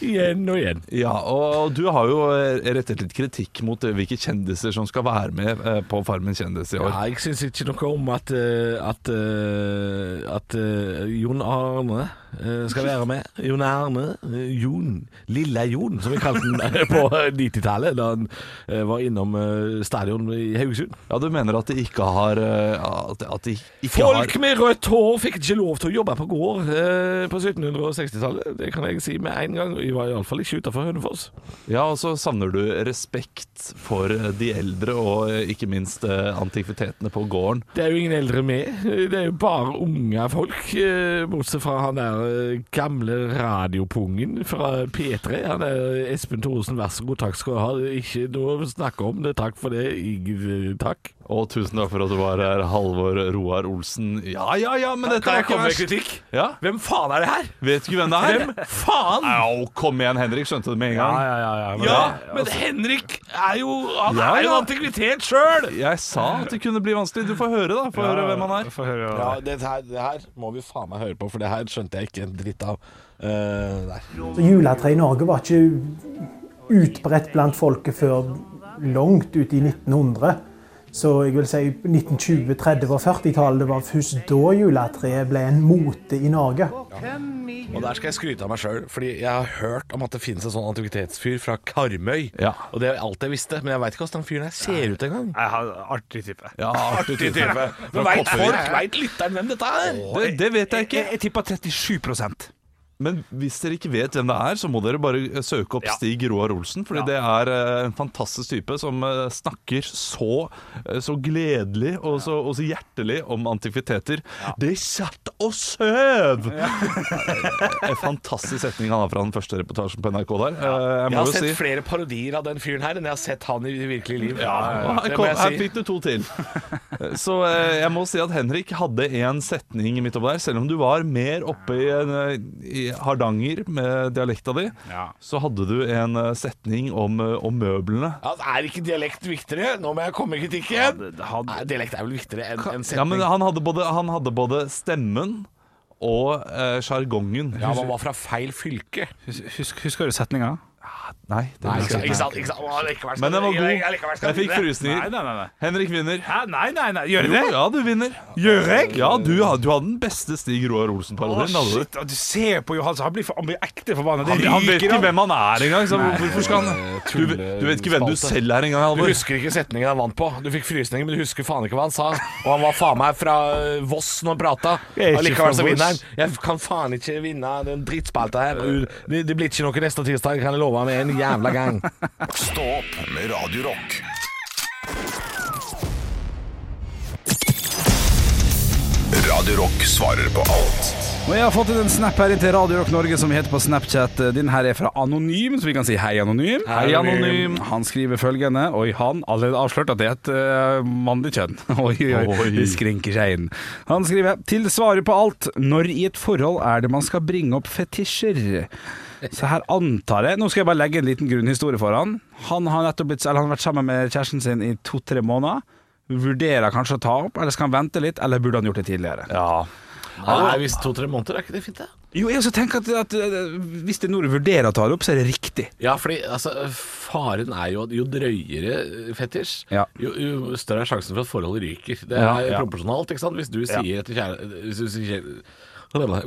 Speaker 3: Igjen og igjen.
Speaker 4: Ja, og du har jo eh, rettet litt kritikk mot eh, hvilke kjendiser som skal være med eh, på Farmen kjendis i år.
Speaker 3: Ja, jeg syns ikke noe om at, eh, at, eh, at eh, Jon Arne eh, skal være med. Jon Arne. eh, Jon. Lille Jon, som vi kalte han på 90-tallet, da han eh, var innom eh, stadion i Haugesund.
Speaker 4: Ja, du mener at de ikke har eh, At at de ikke
Speaker 3: Folk
Speaker 4: har
Speaker 3: med rødt hår fikk ikke lov til å jobbe på gård eh, på 1760-tallet. Det kan jeg si med en gang. Vi var iallfall ikke utafor Hønefoss.
Speaker 4: Ja, og så savner du respekt for eh, de eldre, og eh, ikke minst eh, antikvitetene på gården.
Speaker 3: Det er jo ingen eldre med. Det er jo bare unge folk. eh, Bortsett fra han der eh, gamle radiopungen fra P3. Han er Espen Thoresen, vær så god, takk skal du ha. Ikke noe å snakke om det, takk for det. Ingen, takk.
Speaker 4: Og tusen takk for at du var her, Halvor Roar Olsen. Ja, ja, ja, men dette
Speaker 3: Kan
Speaker 4: er
Speaker 3: jeg
Speaker 4: ikke
Speaker 3: komme med
Speaker 4: verst.
Speaker 3: kritikk?
Speaker 4: Ja,
Speaker 3: Hvem faen er det her?
Speaker 4: Vet du ikke hvem det er?
Speaker 3: Hvem faen?
Speaker 4: Au, kom igjen, Henrik. Skjønte du det med en gang?
Speaker 5: ja, ja.
Speaker 3: Ja, men Henrik er jo Han
Speaker 4: altså. Ja,
Speaker 3: er jo
Speaker 4: ja.
Speaker 3: en antikvitet sjøl!
Speaker 4: Jeg sa at det kunne bli vanskelig. Du får høre, da. Få høre hvem han er.
Speaker 5: Få høre.
Speaker 3: Ja, det her, må vi faen meg høre på, for det her skjønte jeg ikke en dritt av. Eh,
Speaker 8: Så juletre i Norge var ikke utbredt blant folket før langt ut i 1900. Så jeg vil si 1920-, 30- og 40-tallet var først da juletreet ble en mote i Norge.
Speaker 3: Og der skal jeg skryte av meg sjøl, fordi jeg har hørt om at det finnes en sånn antikvitetsfyr fra Karmøy.
Speaker 4: Ja.
Speaker 3: Og det er alt jeg visste, men jeg veit ikke hvordan den fyren her ser ut engang.
Speaker 9: Jeg har artig type.
Speaker 4: Ja, artig type.
Speaker 3: Men Veit folk, veit lytteren hvem dette er?
Speaker 4: Det, det vet jeg
Speaker 9: Jeg,
Speaker 4: ikke.
Speaker 9: jeg tipper 37
Speaker 4: Men hvis dere ikke vet hvem det er, så må dere bare søke opp
Speaker 9: Ja.
Speaker 4: Stig Roar Olsen. Fordi det er eh, en fantastisk type som eh, snakker så, eh, så gledelig og så, og så hjertelig om antikviteter. De satt og søv! en fantastisk setning han har fra den første reportasjen på NRK der. Eh, Jeg
Speaker 3: Jeg
Speaker 4: må
Speaker 3: har
Speaker 4: jo
Speaker 3: sett
Speaker 4: si
Speaker 3: flere parodier av den fyren her enn jeg har sett han i virkelig liv.
Speaker 4: Ja, her,
Speaker 3: Det
Speaker 4: kom,
Speaker 3: må
Speaker 4: her
Speaker 3: jeg si.
Speaker 4: fikk du to til. Så eh, jeg må si at Henrik hadde én setning midt oppe der. Selv om du var mer oppe i, en, eh, i Hardanger med dialekta di,
Speaker 9: Ja.
Speaker 4: så hadde du en eh, setning om, eh, om møblene.
Speaker 3: Ja, er ikke dialekt viktigere? Nå må jeg komme med kritikken. Nei, dialekt er vel viktigere enn en
Speaker 4: Ja, men
Speaker 3: setning. Ja,
Speaker 4: han hadde både, han hadde både stemmen og eh, sjargongen.
Speaker 3: man var fra feil fylke.
Speaker 5: Husk, husker du setninga?
Speaker 4: Nei, det
Speaker 3: Nei,
Speaker 4: husker
Speaker 3: ikke
Speaker 4: jeg ikke.
Speaker 3: sant. Ikke sant? Å, likevel skal
Speaker 4: Men den var
Speaker 3: du-
Speaker 4: god.
Speaker 3: likevel skal
Speaker 4: Jeg
Speaker 3: du
Speaker 4: fikk
Speaker 3: det.
Speaker 5: Nei,
Speaker 4: frysninger.
Speaker 5: nei, nei. nei.
Speaker 4: Henrik vinner.
Speaker 5: Hæ, nei, nei, nei. Gjør
Speaker 4: Jo,
Speaker 5: det?
Speaker 4: ja, du vinner. Gjør jeg? Ja, du, had- du hadde den beste Stig Roar
Speaker 5: Å,
Speaker 4: Olsen-parodien. hadde du.
Speaker 5: shit, og du ser på Johan, så han blir, for, han blir ekte forbanna.
Speaker 4: Han,
Speaker 5: Det
Speaker 4: han vet
Speaker 5: ryker
Speaker 4: ikke
Speaker 5: av.
Speaker 4: hvem han er engang. Så hvorfor skal han du,
Speaker 3: tulle-
Speaker 4: du vet ikke hvem du
Speaker 3: spalte.
Speaker 4: selv er engang,
Speaker 3: Du
Speaker 4: Halvor.
Speaker 3: husker ikke setningen han vant på. Du fikk frysninger, men du husker faen ikke hva han sa. Og han var faen meg fra eh, Voss når han prata.
Speaker 5: Jeg er ikke fra
Speaker 3: Allikevel så
Speaker 5: Voss.
Speaker 3: vinner han. Jeg kan faen ikke vinne den drittspalta her. Du- Det, det blir ikke noe neste tirsdag, kan jeg love med en jævla gang.
Speaker 1: Stå opp med Radio Rock. Radio Rock svarer på alt.
Speaker 5: Og jeg har fått ut en snap her inn til Radio Rock Norge som vi heter på Snapchat. Den her er fra Anonym, så vi kan si hei, Anonym.
Speaker 4: Hei, Anonym.
Speaker 5: Han skriver følgende Oi, han allerede avslørt at det er et eh, mannlig kjønn. Oi, oi, oi.
Speaker 4: Oi.
Speaker 5: Det skrinker seg inn. Han skriver Til svaret på alt. Når i et forhold er det man skal bringe opp fetisjer? Så her antar jeg Nå skal jeg bare legge en liten grunnhistorie for han. Han har nettopp blitt, eller han har vært sammen med kjæresten sin i to-tre måneder. Vurderer kanskje å ta opp, eller skal han vente litt, eller burde han gjort det tidligere?
Speaker 4: Ja.
Speaker 3: Nei, hvis to-tre måneder er ikke det fint, det?
Speaker 5: Jo, jeg også tenker at, at eh, hvis det er noe du vurderer å ta det opp, så er det riktig.
Speaker 3: Ja, fordi altså, faren er jo at jo drøyere eh, fetisj,
Speaker 5: Ja.
Speaker 3: jo, jo større er sjansen for at forholdet ryker. Det er
Speaker 4: Ja, ja.
Speaker 3: proporsjonalt, ikke sant. Hvis du sier til kjære, hvis du sier,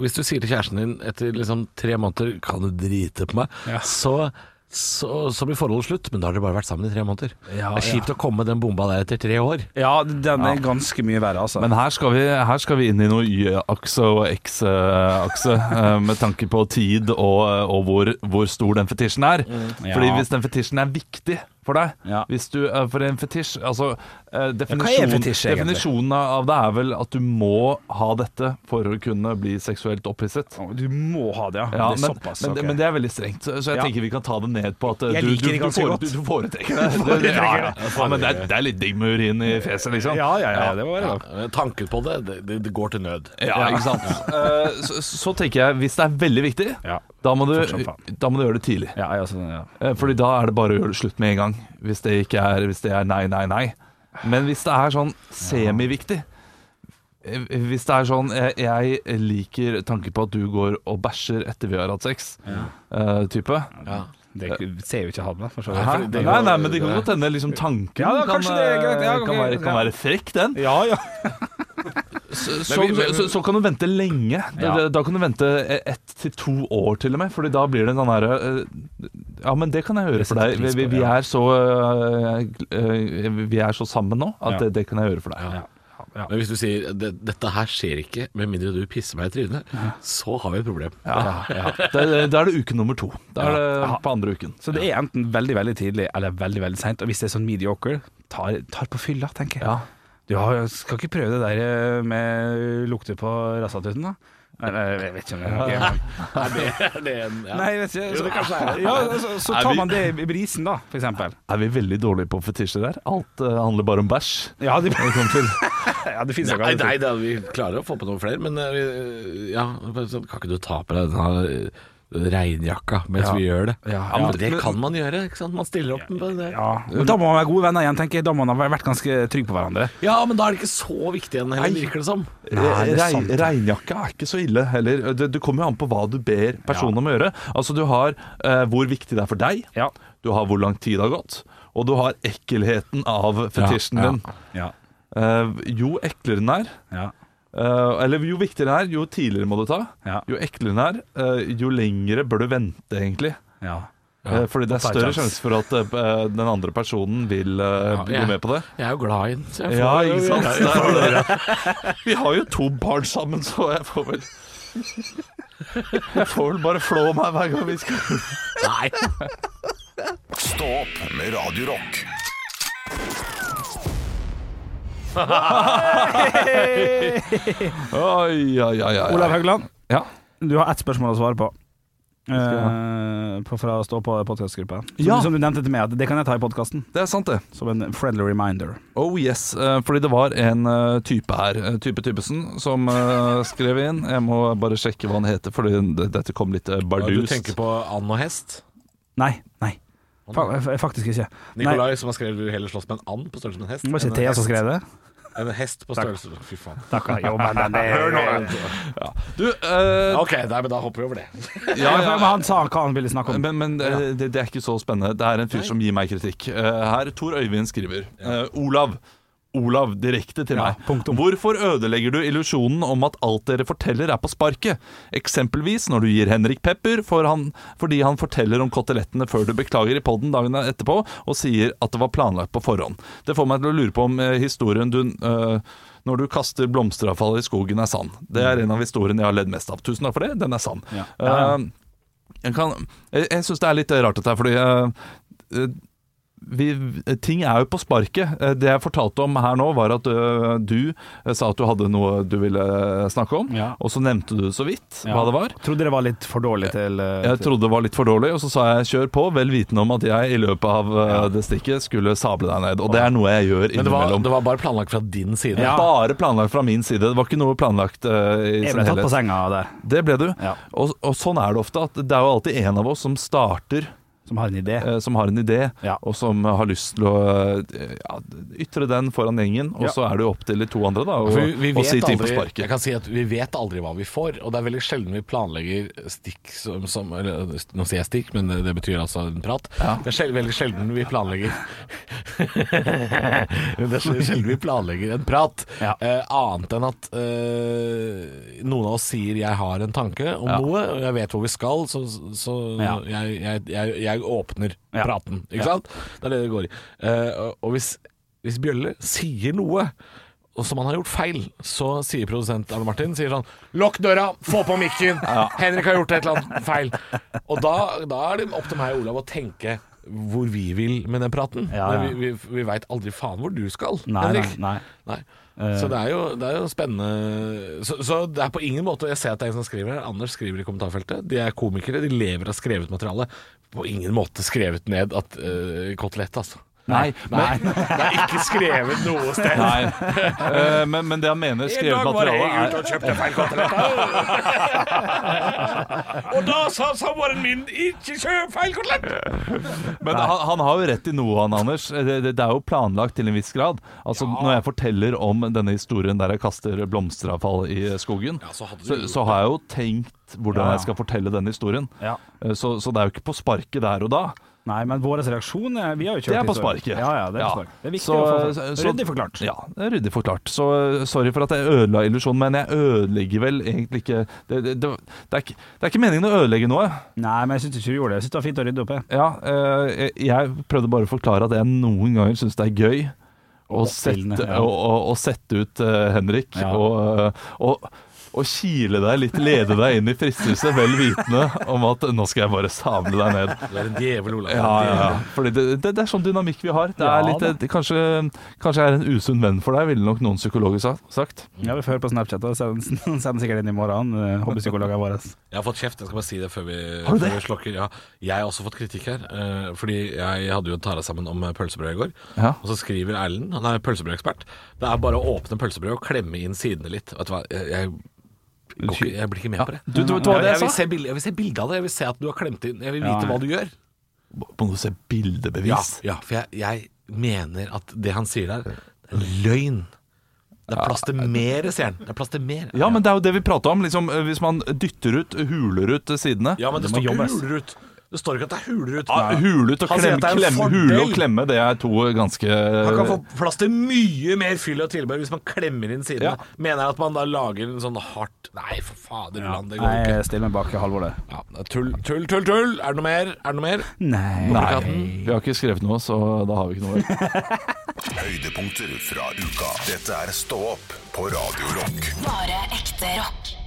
Speaker 3: hvis du sier til kjæresten din etter liksom tre måneder 'kan du drite på meg', så, så, så blir forholdet slutt. Men da har dere bare vært sammen i tre måneder.
Speaker 5: Ja,
Speaker 3: det er kjipt å komme med den bomba der etter tre år.
Speaker 5: Ja, den er ganske mye verre, altså.
Speaker 4: Men her skal, vi, her skal vi inn i noe Y-akse og X-akse eh, med tanke på tid og, eh, og hvor, hvor stor den fetisjen er. Fordi
Speaker 5: Ja.
Speaker 4: hvis den fetisjen er viktig for deg
Speaker 5: Mm. Ja.
Speaker 4: Hvis du eh, For en fetisj altså, eh,
Speaker 5: hva er
Speaker 4: definisjon,
Speaker 5: fetisj, egentlig?
Speaker 4: Definisjonen av det er vel at du må ha dette for å kunne bli seksuelt opphisset.
Speaker 5: Å, Du må ha det, ja.
Speaker 4: Ja,
Speaker 5: det er
Speaker 4: men,
Speaker 5: såpass.
Speaker 4: men,
Speaker 5: ok.
Speaker 4: men det er veldig strengt, så så jeg
Speaker 5: Ja.
Speaker 4: tenker vi kan ta det ned på at eh,
Speaker 5: Jeg
Speaker 4: du,
Speaker 5: liker
Speaker 4: du,
Speaker 5: det
Speaker 4: du,
Speaker 5: ganske
Speaker 4: fore,
Speaker 5: godt.
Speaker 4: du, du foretrekker det. det, det ja, ja. ja, men det er, det er litt digg med urin i fjeset, liksom.
Speaker 5: ja, ja, sånn. ja, det var det. da.
Speaker 3: Eh, Tanken på det, det, det, det går til nød.
Speaker 4: Ja, ikke sant? Eh, så, så tenker jeg, hvis det er veldig viktig,
Speaker 5: Ja.
Speaker 4: da, må du,
Speaker 5: Fortsatt faen.
Speaker 4: da må du gjøre det tidlig.
Speaker 5: Ja, jeg også, ja.
Speaker 4: Eh, Fordi da er det bare å gjøre det slutt med en gang. Hvis det ikke er, hvis det er nei, nei, nei. Men hvis det er sånn semiviktig eh, Hvis det er sånn eh, Jeg liker tanken på at du går og bæsjer etter vi har hatt sex, eh, type.
Speaker 5: Det ser jo ikke han, da. For så
Speaker 4: Hæ?
Speaker 5: vidt.
Speaker 4: Nei, nei, men det kan godt hende liksom tanken
Speaker 5: Ja, da,
Speaker 4: kan,
Speaker 5: kanskje det er greit. Ja,
Speaker 4: eh, kan,
Speaker 5: ok,
Speaker 4: være, kan
Speaker 5: ja. Eh,
Speaker 4: være frekk, den.
Speaker 5: Ja, ja.
Speaker 4: Så, så, så, så kan du vente lenge. Da-
Speaker 5: Ja.
Speaker 4: Da, da kan du vente e- ett til to år til og med, Fordi da blir det en sånn herre eh, Ja, men det kan jeg gjøre for deg. Vi, vi, vi, er så, eh, eh, vi er så sammen nå at
Speaker 5: Ja.
Speaker 4: det, det kan jeg gjøre for deg.
Speaker 5: Ja. Ja.
Speaker 3: Men hvis du sier det, 'dette her skjer ikke med mindre du pisser meg i trynet', så har vi et problem.
Speaker 4: Da da er det uke nummer to. Da er det på andre uken.
Speaker 5: Så det er enten veldig veldig tidlig eller veldig veldig seint. Og hvis det er sånn mediocre, tar, tar på fylla, tenker jeg.
Speaker 4: Ja.
Speaker 5: Du har, skal ikke prøve det der eh, med lukter på rasatuten, da? Eller, jeg vet ikke om det er noe.
Speaker 3: Er det, er det en, ja.
Speaker 5: Nei, jeg vet ikke.
Speaker 3: Jo, det kanskje er det.
Speaker 5: ja, så, så
Speaker 4: Er
Speaker 5: tar
Speaker 4: vi-
Speaker 5: man det i brisen, da, for eksempel.
Speaker 4: Er vi veldig dårlige på fetisjer her? Alt eh, handler bare om bæsj.
Speaker 5: Ja, det,
Speaker 4: når det kommer til-
Speaker 5: ja, det finnes jo
Speaker 3: Nei,
Speaker 5: ikke
Speaker 3: nei da, vi klarer å få på noen flere, men eh, vi- ja, sånn, kan ikke du ta på deg denne eh, regnjakka mens vi gjør det?
Speaker 5: Ja,
Speaker 3: men
Speaker 5: ja.
Speaker 3: det kan man gjøre, ikke sant? Man stiller opp med det.
Speaker 5: Ja, men da må man være gode venner igjen, tenker jeg. Da må man ha vært ganske trygg på hverandre.
Speaker 3: Ja, men da er det ikke så viktig igjen heller, virker det som.
Speaker 5: Nei, det er
Speaker 4: Rei-
Speaker 5: sant.
Speaker 4: Regnjakka er ikke så ille heller. Det, det kommer jo an på hva du ber personen om å gjøre. Altså Du har eh, hvor viktig det er for deg,
Speaker 5: Ja.
Speaker 4: du har hvor lang tid det har gått, og du har ekkelheten av fetisjen
Speaker 3: ja.
Speaker 4: din.
Speaker 5: Ja.
Speaker 4: Eh, jo eklere den er,
Speaker 5: Ja.
Speaker 4: eh, eller jo viktigere den er, jo tidligere må du ta.
Speaker 5: Ja.
Speaker 4: Jo eklere den er, eh, jo lengre bør du vente, egentlig.
Speaker 5: Ja.
Speaker 4: Eh, fordi det er
Speaker 3: ta en
Speaker 4: større
Speaker 3: sjanse.
Speaker 4: sjanse for at eh, den andre personen vil eh,
Speaker 3: Ja, ja.
Speaker 4: gå med på det.
Speaker 3: Jeg er jo glad i den. Så jeg
Speaker 4: Ja,
Speaker 3: får-
Speaker 4: ikke sant? Det er jo det. Vi har jo to barn sammen, så jeg får vel Jeg får vel bare flå meg hver gang vi skal
Speaker 3: Nei.
Speaker 1: Stå opp med Radio Rock.
Speaker 4: Oi, oi, oi, oi.
Speaker 5: Olav Haugland,
Speaker 4: Ja.
Speaker 5: du har ett spørsmål å svare på.
Speaker 4: jeg
Speaker 5: Eh, på fra å stå på podkastgruppa. Som,
Speaker 4: Ja.
Speaker 5: som du nevnte til meg, at det kan jeg ta i podkasten.
Speaker 4: Det er sant, det.
Speaker 5: Som en friendly reminder.
Speaker 4: Oh yes. eh, Fordi det var en eh, type her, eh, type Typesen, som eh, skrev inn. Jeg må bare sjekke hva han heter, fordi det- dette kom litt eh,
Speaker 3: Du
Speaker 4: bardust.
Speaker 3: tenker på and og hest?
Speaker 5: Nei, nei. Fa f- faktisk ikke. Nei,
Speaker 3: Nikolai som har skrevet vil heller slåss med en and på størrelse med en hest.
Speaker 5: det var
Speaker 3: enn
Speaker 5: ikke
Speaker 3: en
Speaker 5: Thea som
Speaker 3: hest-
Speaker 5: skrev det.
Speaker 3: enn En hest på størrelse Fy faen.
Speaker 5: Takk, jo, men den er-
Speaker 4: Du, eh,
Speaker 3: Ok, nei, men da hopper vi over det.
Speaker 5: Ja,
Speaker 4: ja,
Speaker 5: for-
Speaker 4: ja.
Speaker 5: men han sa hva han ville snakke om.
Speaker 4: Men, men eh, det, det er ikke så spennende. Det er en fyr som gir meg kritikk. Eh, Her, Tor Øyvind skriver eh, Olav. Olav, direkte til
Speaker 5: Ja,
Speaker 4: meg.
Speaker 5: punktum.
Speaker 4: Hvorfor ødelegger du illusjonen om at alt dere forteller er på sparket? Eksempelvis når du gir Henrik pepper for han, fordi han forteller om kotelettene før du beklager i poden dagen etterpå og sier at det var planlagt på forhånd. Det får meg til å lure på om eh, historien du eh, når du kaster blomsteravfall i skogen er sann. Det er en av historiene jeg har ledd mest av. Tusen takk for det, den er sann.
Speaker 5: Mm. Ja.
Speaker 4: Eh, jeg, kan, jeg, jeg syns det er litt rart dette her, fordi eh, eh, vi, eh, ting er jo på sparket. Eh, Det jeg fortalte om her nå, var at eh, du eh, sa at du hadde noe du ville eh, snakke om,
Speaker 5: Ja.
Speaker 4: og så nevnte du så vidt
Speaker 5: Ja.
Speaker 4: hva det var.
Speaker 5: Trodde det var litt for dårlig til eh,
Speaker 4: Jeg trodde det var litt for dårlig, og så sa jeg 'kjør på', vel vitende om at jeg i løpet av eh, det stikket skulle sable deg ned. Og det er noe jeg gjør
Speaker 3: Men det var,
Speaker 4: innimellom.
Speaker 3: det var bare planlagt fra din side.
Speaker 5: Ja.
Speaker 4: Bare planlagt fra min side. Det var ikke noe planlagt eh, i
Speaker 5: Jeg
Speaker 4: sin
Speaker 5: ble tatt
Speaker 4: helhet.
Speaker 5: på senga der,
Speaker 4: Det ble du.
Speaker 5: Ja.
Speaker 4: Og, og sånn er det ofte. At det er jo alltid en av oss som starter
Speaker 5: som har en idé.
Speaker 4: eh, som har en idé,
Speaker 5: Ja.
Speaker 4: og som har lyst til å eh, ja, ytre den foran gjengen. Og
Speaker 5: Ja.
Speaker 4: så er det jo opp til de to andre da, å,
Speaker 3: For vi, vi
Speaker 4: å
Speaker 3: vet
Speaker 4: si ting på
Speaker 3: aldri, jeg
Speaker 4: sparket.
Speaker 3: kan si at vi vet aldri hva vi får, og det er veldig sjelden vi planlegger stikk som, som eller, Nå sier jeg stikk, men det, det betyr altså en prat. Det er sjel, veldig sjelden vi planlegger Det er sjel- sjelden vi planlegger en prat,
Speaker 5: Ja.
Speaker 3: eh, annet enn at eh, noen av oss sier 'jeg har en tanke om noe', og 'jeg vet hvor vi skal', så, så
Speaker 5: Ja.
Speaker 3: jeg, jeg, jeg, jeg åpner
Speaker 5: Ja.
Speaker 3: praten. Ikke
Speaker 5: Ja.
Speaker 3: sant? Det er det det går i. Eh, og- og hvis, hvis Bjølle sier noe og som han har gjort feil, så sier produsent Arne Martin sier sånn Lokk døra, få på mikken! Henrik har gjort et eller annet feil. Og da, da er det opp til meg og Olav å tenke hvor vi vil med den praten.
Speaker 5: Ja, ja.
Speaker 3: Men vi, vi, vi veit aldri faen hvor du skal,
Speaker 5: Nei, nei, Eh.
Speaker 3: Henrik.
Speaker 5: nei.
Speaker 3: Nei. Så det er jo, det er jo spennende så, så det er på ingen måte Jeg ser at det er en som skriver her. Anders skriver i kommentarfeltet. De er komikere, de lever av skrevet materiale. På ingen måte skrevet ned at uh, kotelett, altså.
Speaker 4: Nei,
Speaker 3: Nei, det er ikke skrevet noe sted.
Speaker 4: Nei. Eh, men, men det han mener
Speaker 3: En
Speaker 4: skrevet
Speaker 3: dag var jeg
Speaker 4: materiale
Speaker 3: ute
Speaker 4: er
Speaker 3: og kjøpte feil kotelett. og da sa samboeren min 'ikke kjøp feil kotelett'.
Speaker 4: Men han, han har jo rett i noe, han Anders. Eh, Det, det, det er jo planlagt til en viss grad. Altså Når jeg forteller om denne historien der jeg kaster blomsteravfall i eh, skogen,
Speaker 3: Ja, så hadde du
Speaker 4: så,
Speaker 3: gjort
Speaker 4: så har jeg jo tenkt hvordan jeg skal fortelle denne historien.
Speaker 5: Ja.
Speaker 4: Eh, Så, så det er jo ikke på sparket der og da.
Speaker 5: Nei, men vår reaksjon er Vi har jo kjørt
Speaker 4: Det er på
Speaker 5: historien.
Speaker 4: sparket.
Speaker 5: Ja, ja, det er
Speaker 4: Ja.
Speaker 5: på sparket. Det er viktig
Speaker 4: Så-
Speaker 5: å få
Speaker 4: så-
Speaker 5: ryddig forklart.
Speaker 4: Ja, det er ryddig forklart. Så eh, sorry for at jeg ødela illusjonen, men jeg ødelegger vel egentlig ikke det, det, det, det, er ikke det er ikke meningen å ødelegge noe.
Speaker 5: Nei, men jeg syns ikke du gjorde det. Jeg syns det var fint å rydde opp. Jeg.
Speaker 4: Ja, eh, jeg- jeg prøvde bare å forklare at jeg noen ganger syns det er gøy å
Speaker 5: Oppstillende,
Speaker 4: sette,
Speaker 5: ja.
Speaker 4: å, å, å sette ut eh, Henrik
Speaker 5: Ja.
Speaker 4: og, eh, og og kile deg litt, lede deg inn i fristelse, vel vitende om at nå skal jeg bare sable deg ned.
Speaker 3: Du er en djevel, Olav.
Speaker 4: Ja, ja, ja. Fordi det, det, det er sånn dynamikk vi har. Det
Speaker 5: Ja,
Speaker 4: er litt,
Speaker 5: da.
Speaker 4: det, kanskje, kanskje jeg er en usunn venn for deg, ville nok noen psykologer sa- sagt.
Speaker 5: Ja, vi får høre på Snapchat. og Send, send sikkert inn i morgen, eh, hobbypsykologene våre.
Speaker 3: Jeg har fått kjeft, jeg skal bare si det før vi,
Speaker 4: Har
Speaker 3: før
Speaker 4: du det?
Speaker 3: vi slokker. Ja, jeg har også fått kritikk her, eh, fordi jeg hadde jo tara sammen om eh, pølsebrød i går.
Speaker 4: Ja.
Speaker 3: Og så skriver Erlend, han er pølsebrødekspert, det er bare å åpne pølsebrød og klemme inn sidene litt. Vet du hva, jeg, jeg, går ikke, jeg blir ikke med på det.
Speaker 4: Du, du vet hva
Speaker 3: jeg,
Speaker 4: det
Speaker 3: jeg,
Speaker 4: jeg
Speaker 3: vil
Speaker 4: sa?
Speaker 3: se bilde, jeg vil se bilde av det, jeg vil se at du har klemt inn, jeg vil
Speaker 5: Ja.
Speaker 3: vite hva du gjør.
Speaker 4: Må du se bildebevis?
Speaker 3: Ja, ja for jeg, jeg mener at det han sier der, det er løgn. Det er plass til mer, sier han. Det er plass til mer.
Speaker 4: Ja, men det er jo det vi prata om. Liksom, eh, hvis man dytter ut, huler ut eh, sidene.
Speaker 3: Ja, men det
Speaker 5: må
Speaker 3: står ikke
Speaker 5: jobbes.
Speaker 3: huler ut. Det står ikke at det er huler ut.
Speaker 4: Ah, hule ut og
Speaker 3: Han sier at
Speaker 4: klemme,
Speaker 3: det er en
Speaker 4: klemme,
Speaker 3: fordel.
Speaker 4: hule og klemme, det er to ganske
Speaker 3: Man kan få plass til mye mer fyll og tilbehør hvis man klemmer inn sidene.
Speaker 4: Ja.
Speaker 3: Mener jeg at man da lager en sånn hardt Nei, for fader, land, det går
Speaker 5: Nei,
Speaker 3: ikke.
Speaker 5: jeg stiller meg bak Halvor der.
Speaker 3: Ja, det er tull, tull, tull, tull. Er det noe mer? Er det noe mer?
Speaker 5: Nei.
Speaker 4: Nei,
Speaker 3: Plakaten.
Speaker 4: vi har ikke skrevet noe, så da har vi ikke noe.
Speaker 1: Høydepunkter fra uka. Dette er Stå opp på Radio Rock.
Speaker 2: Bare ekte rock.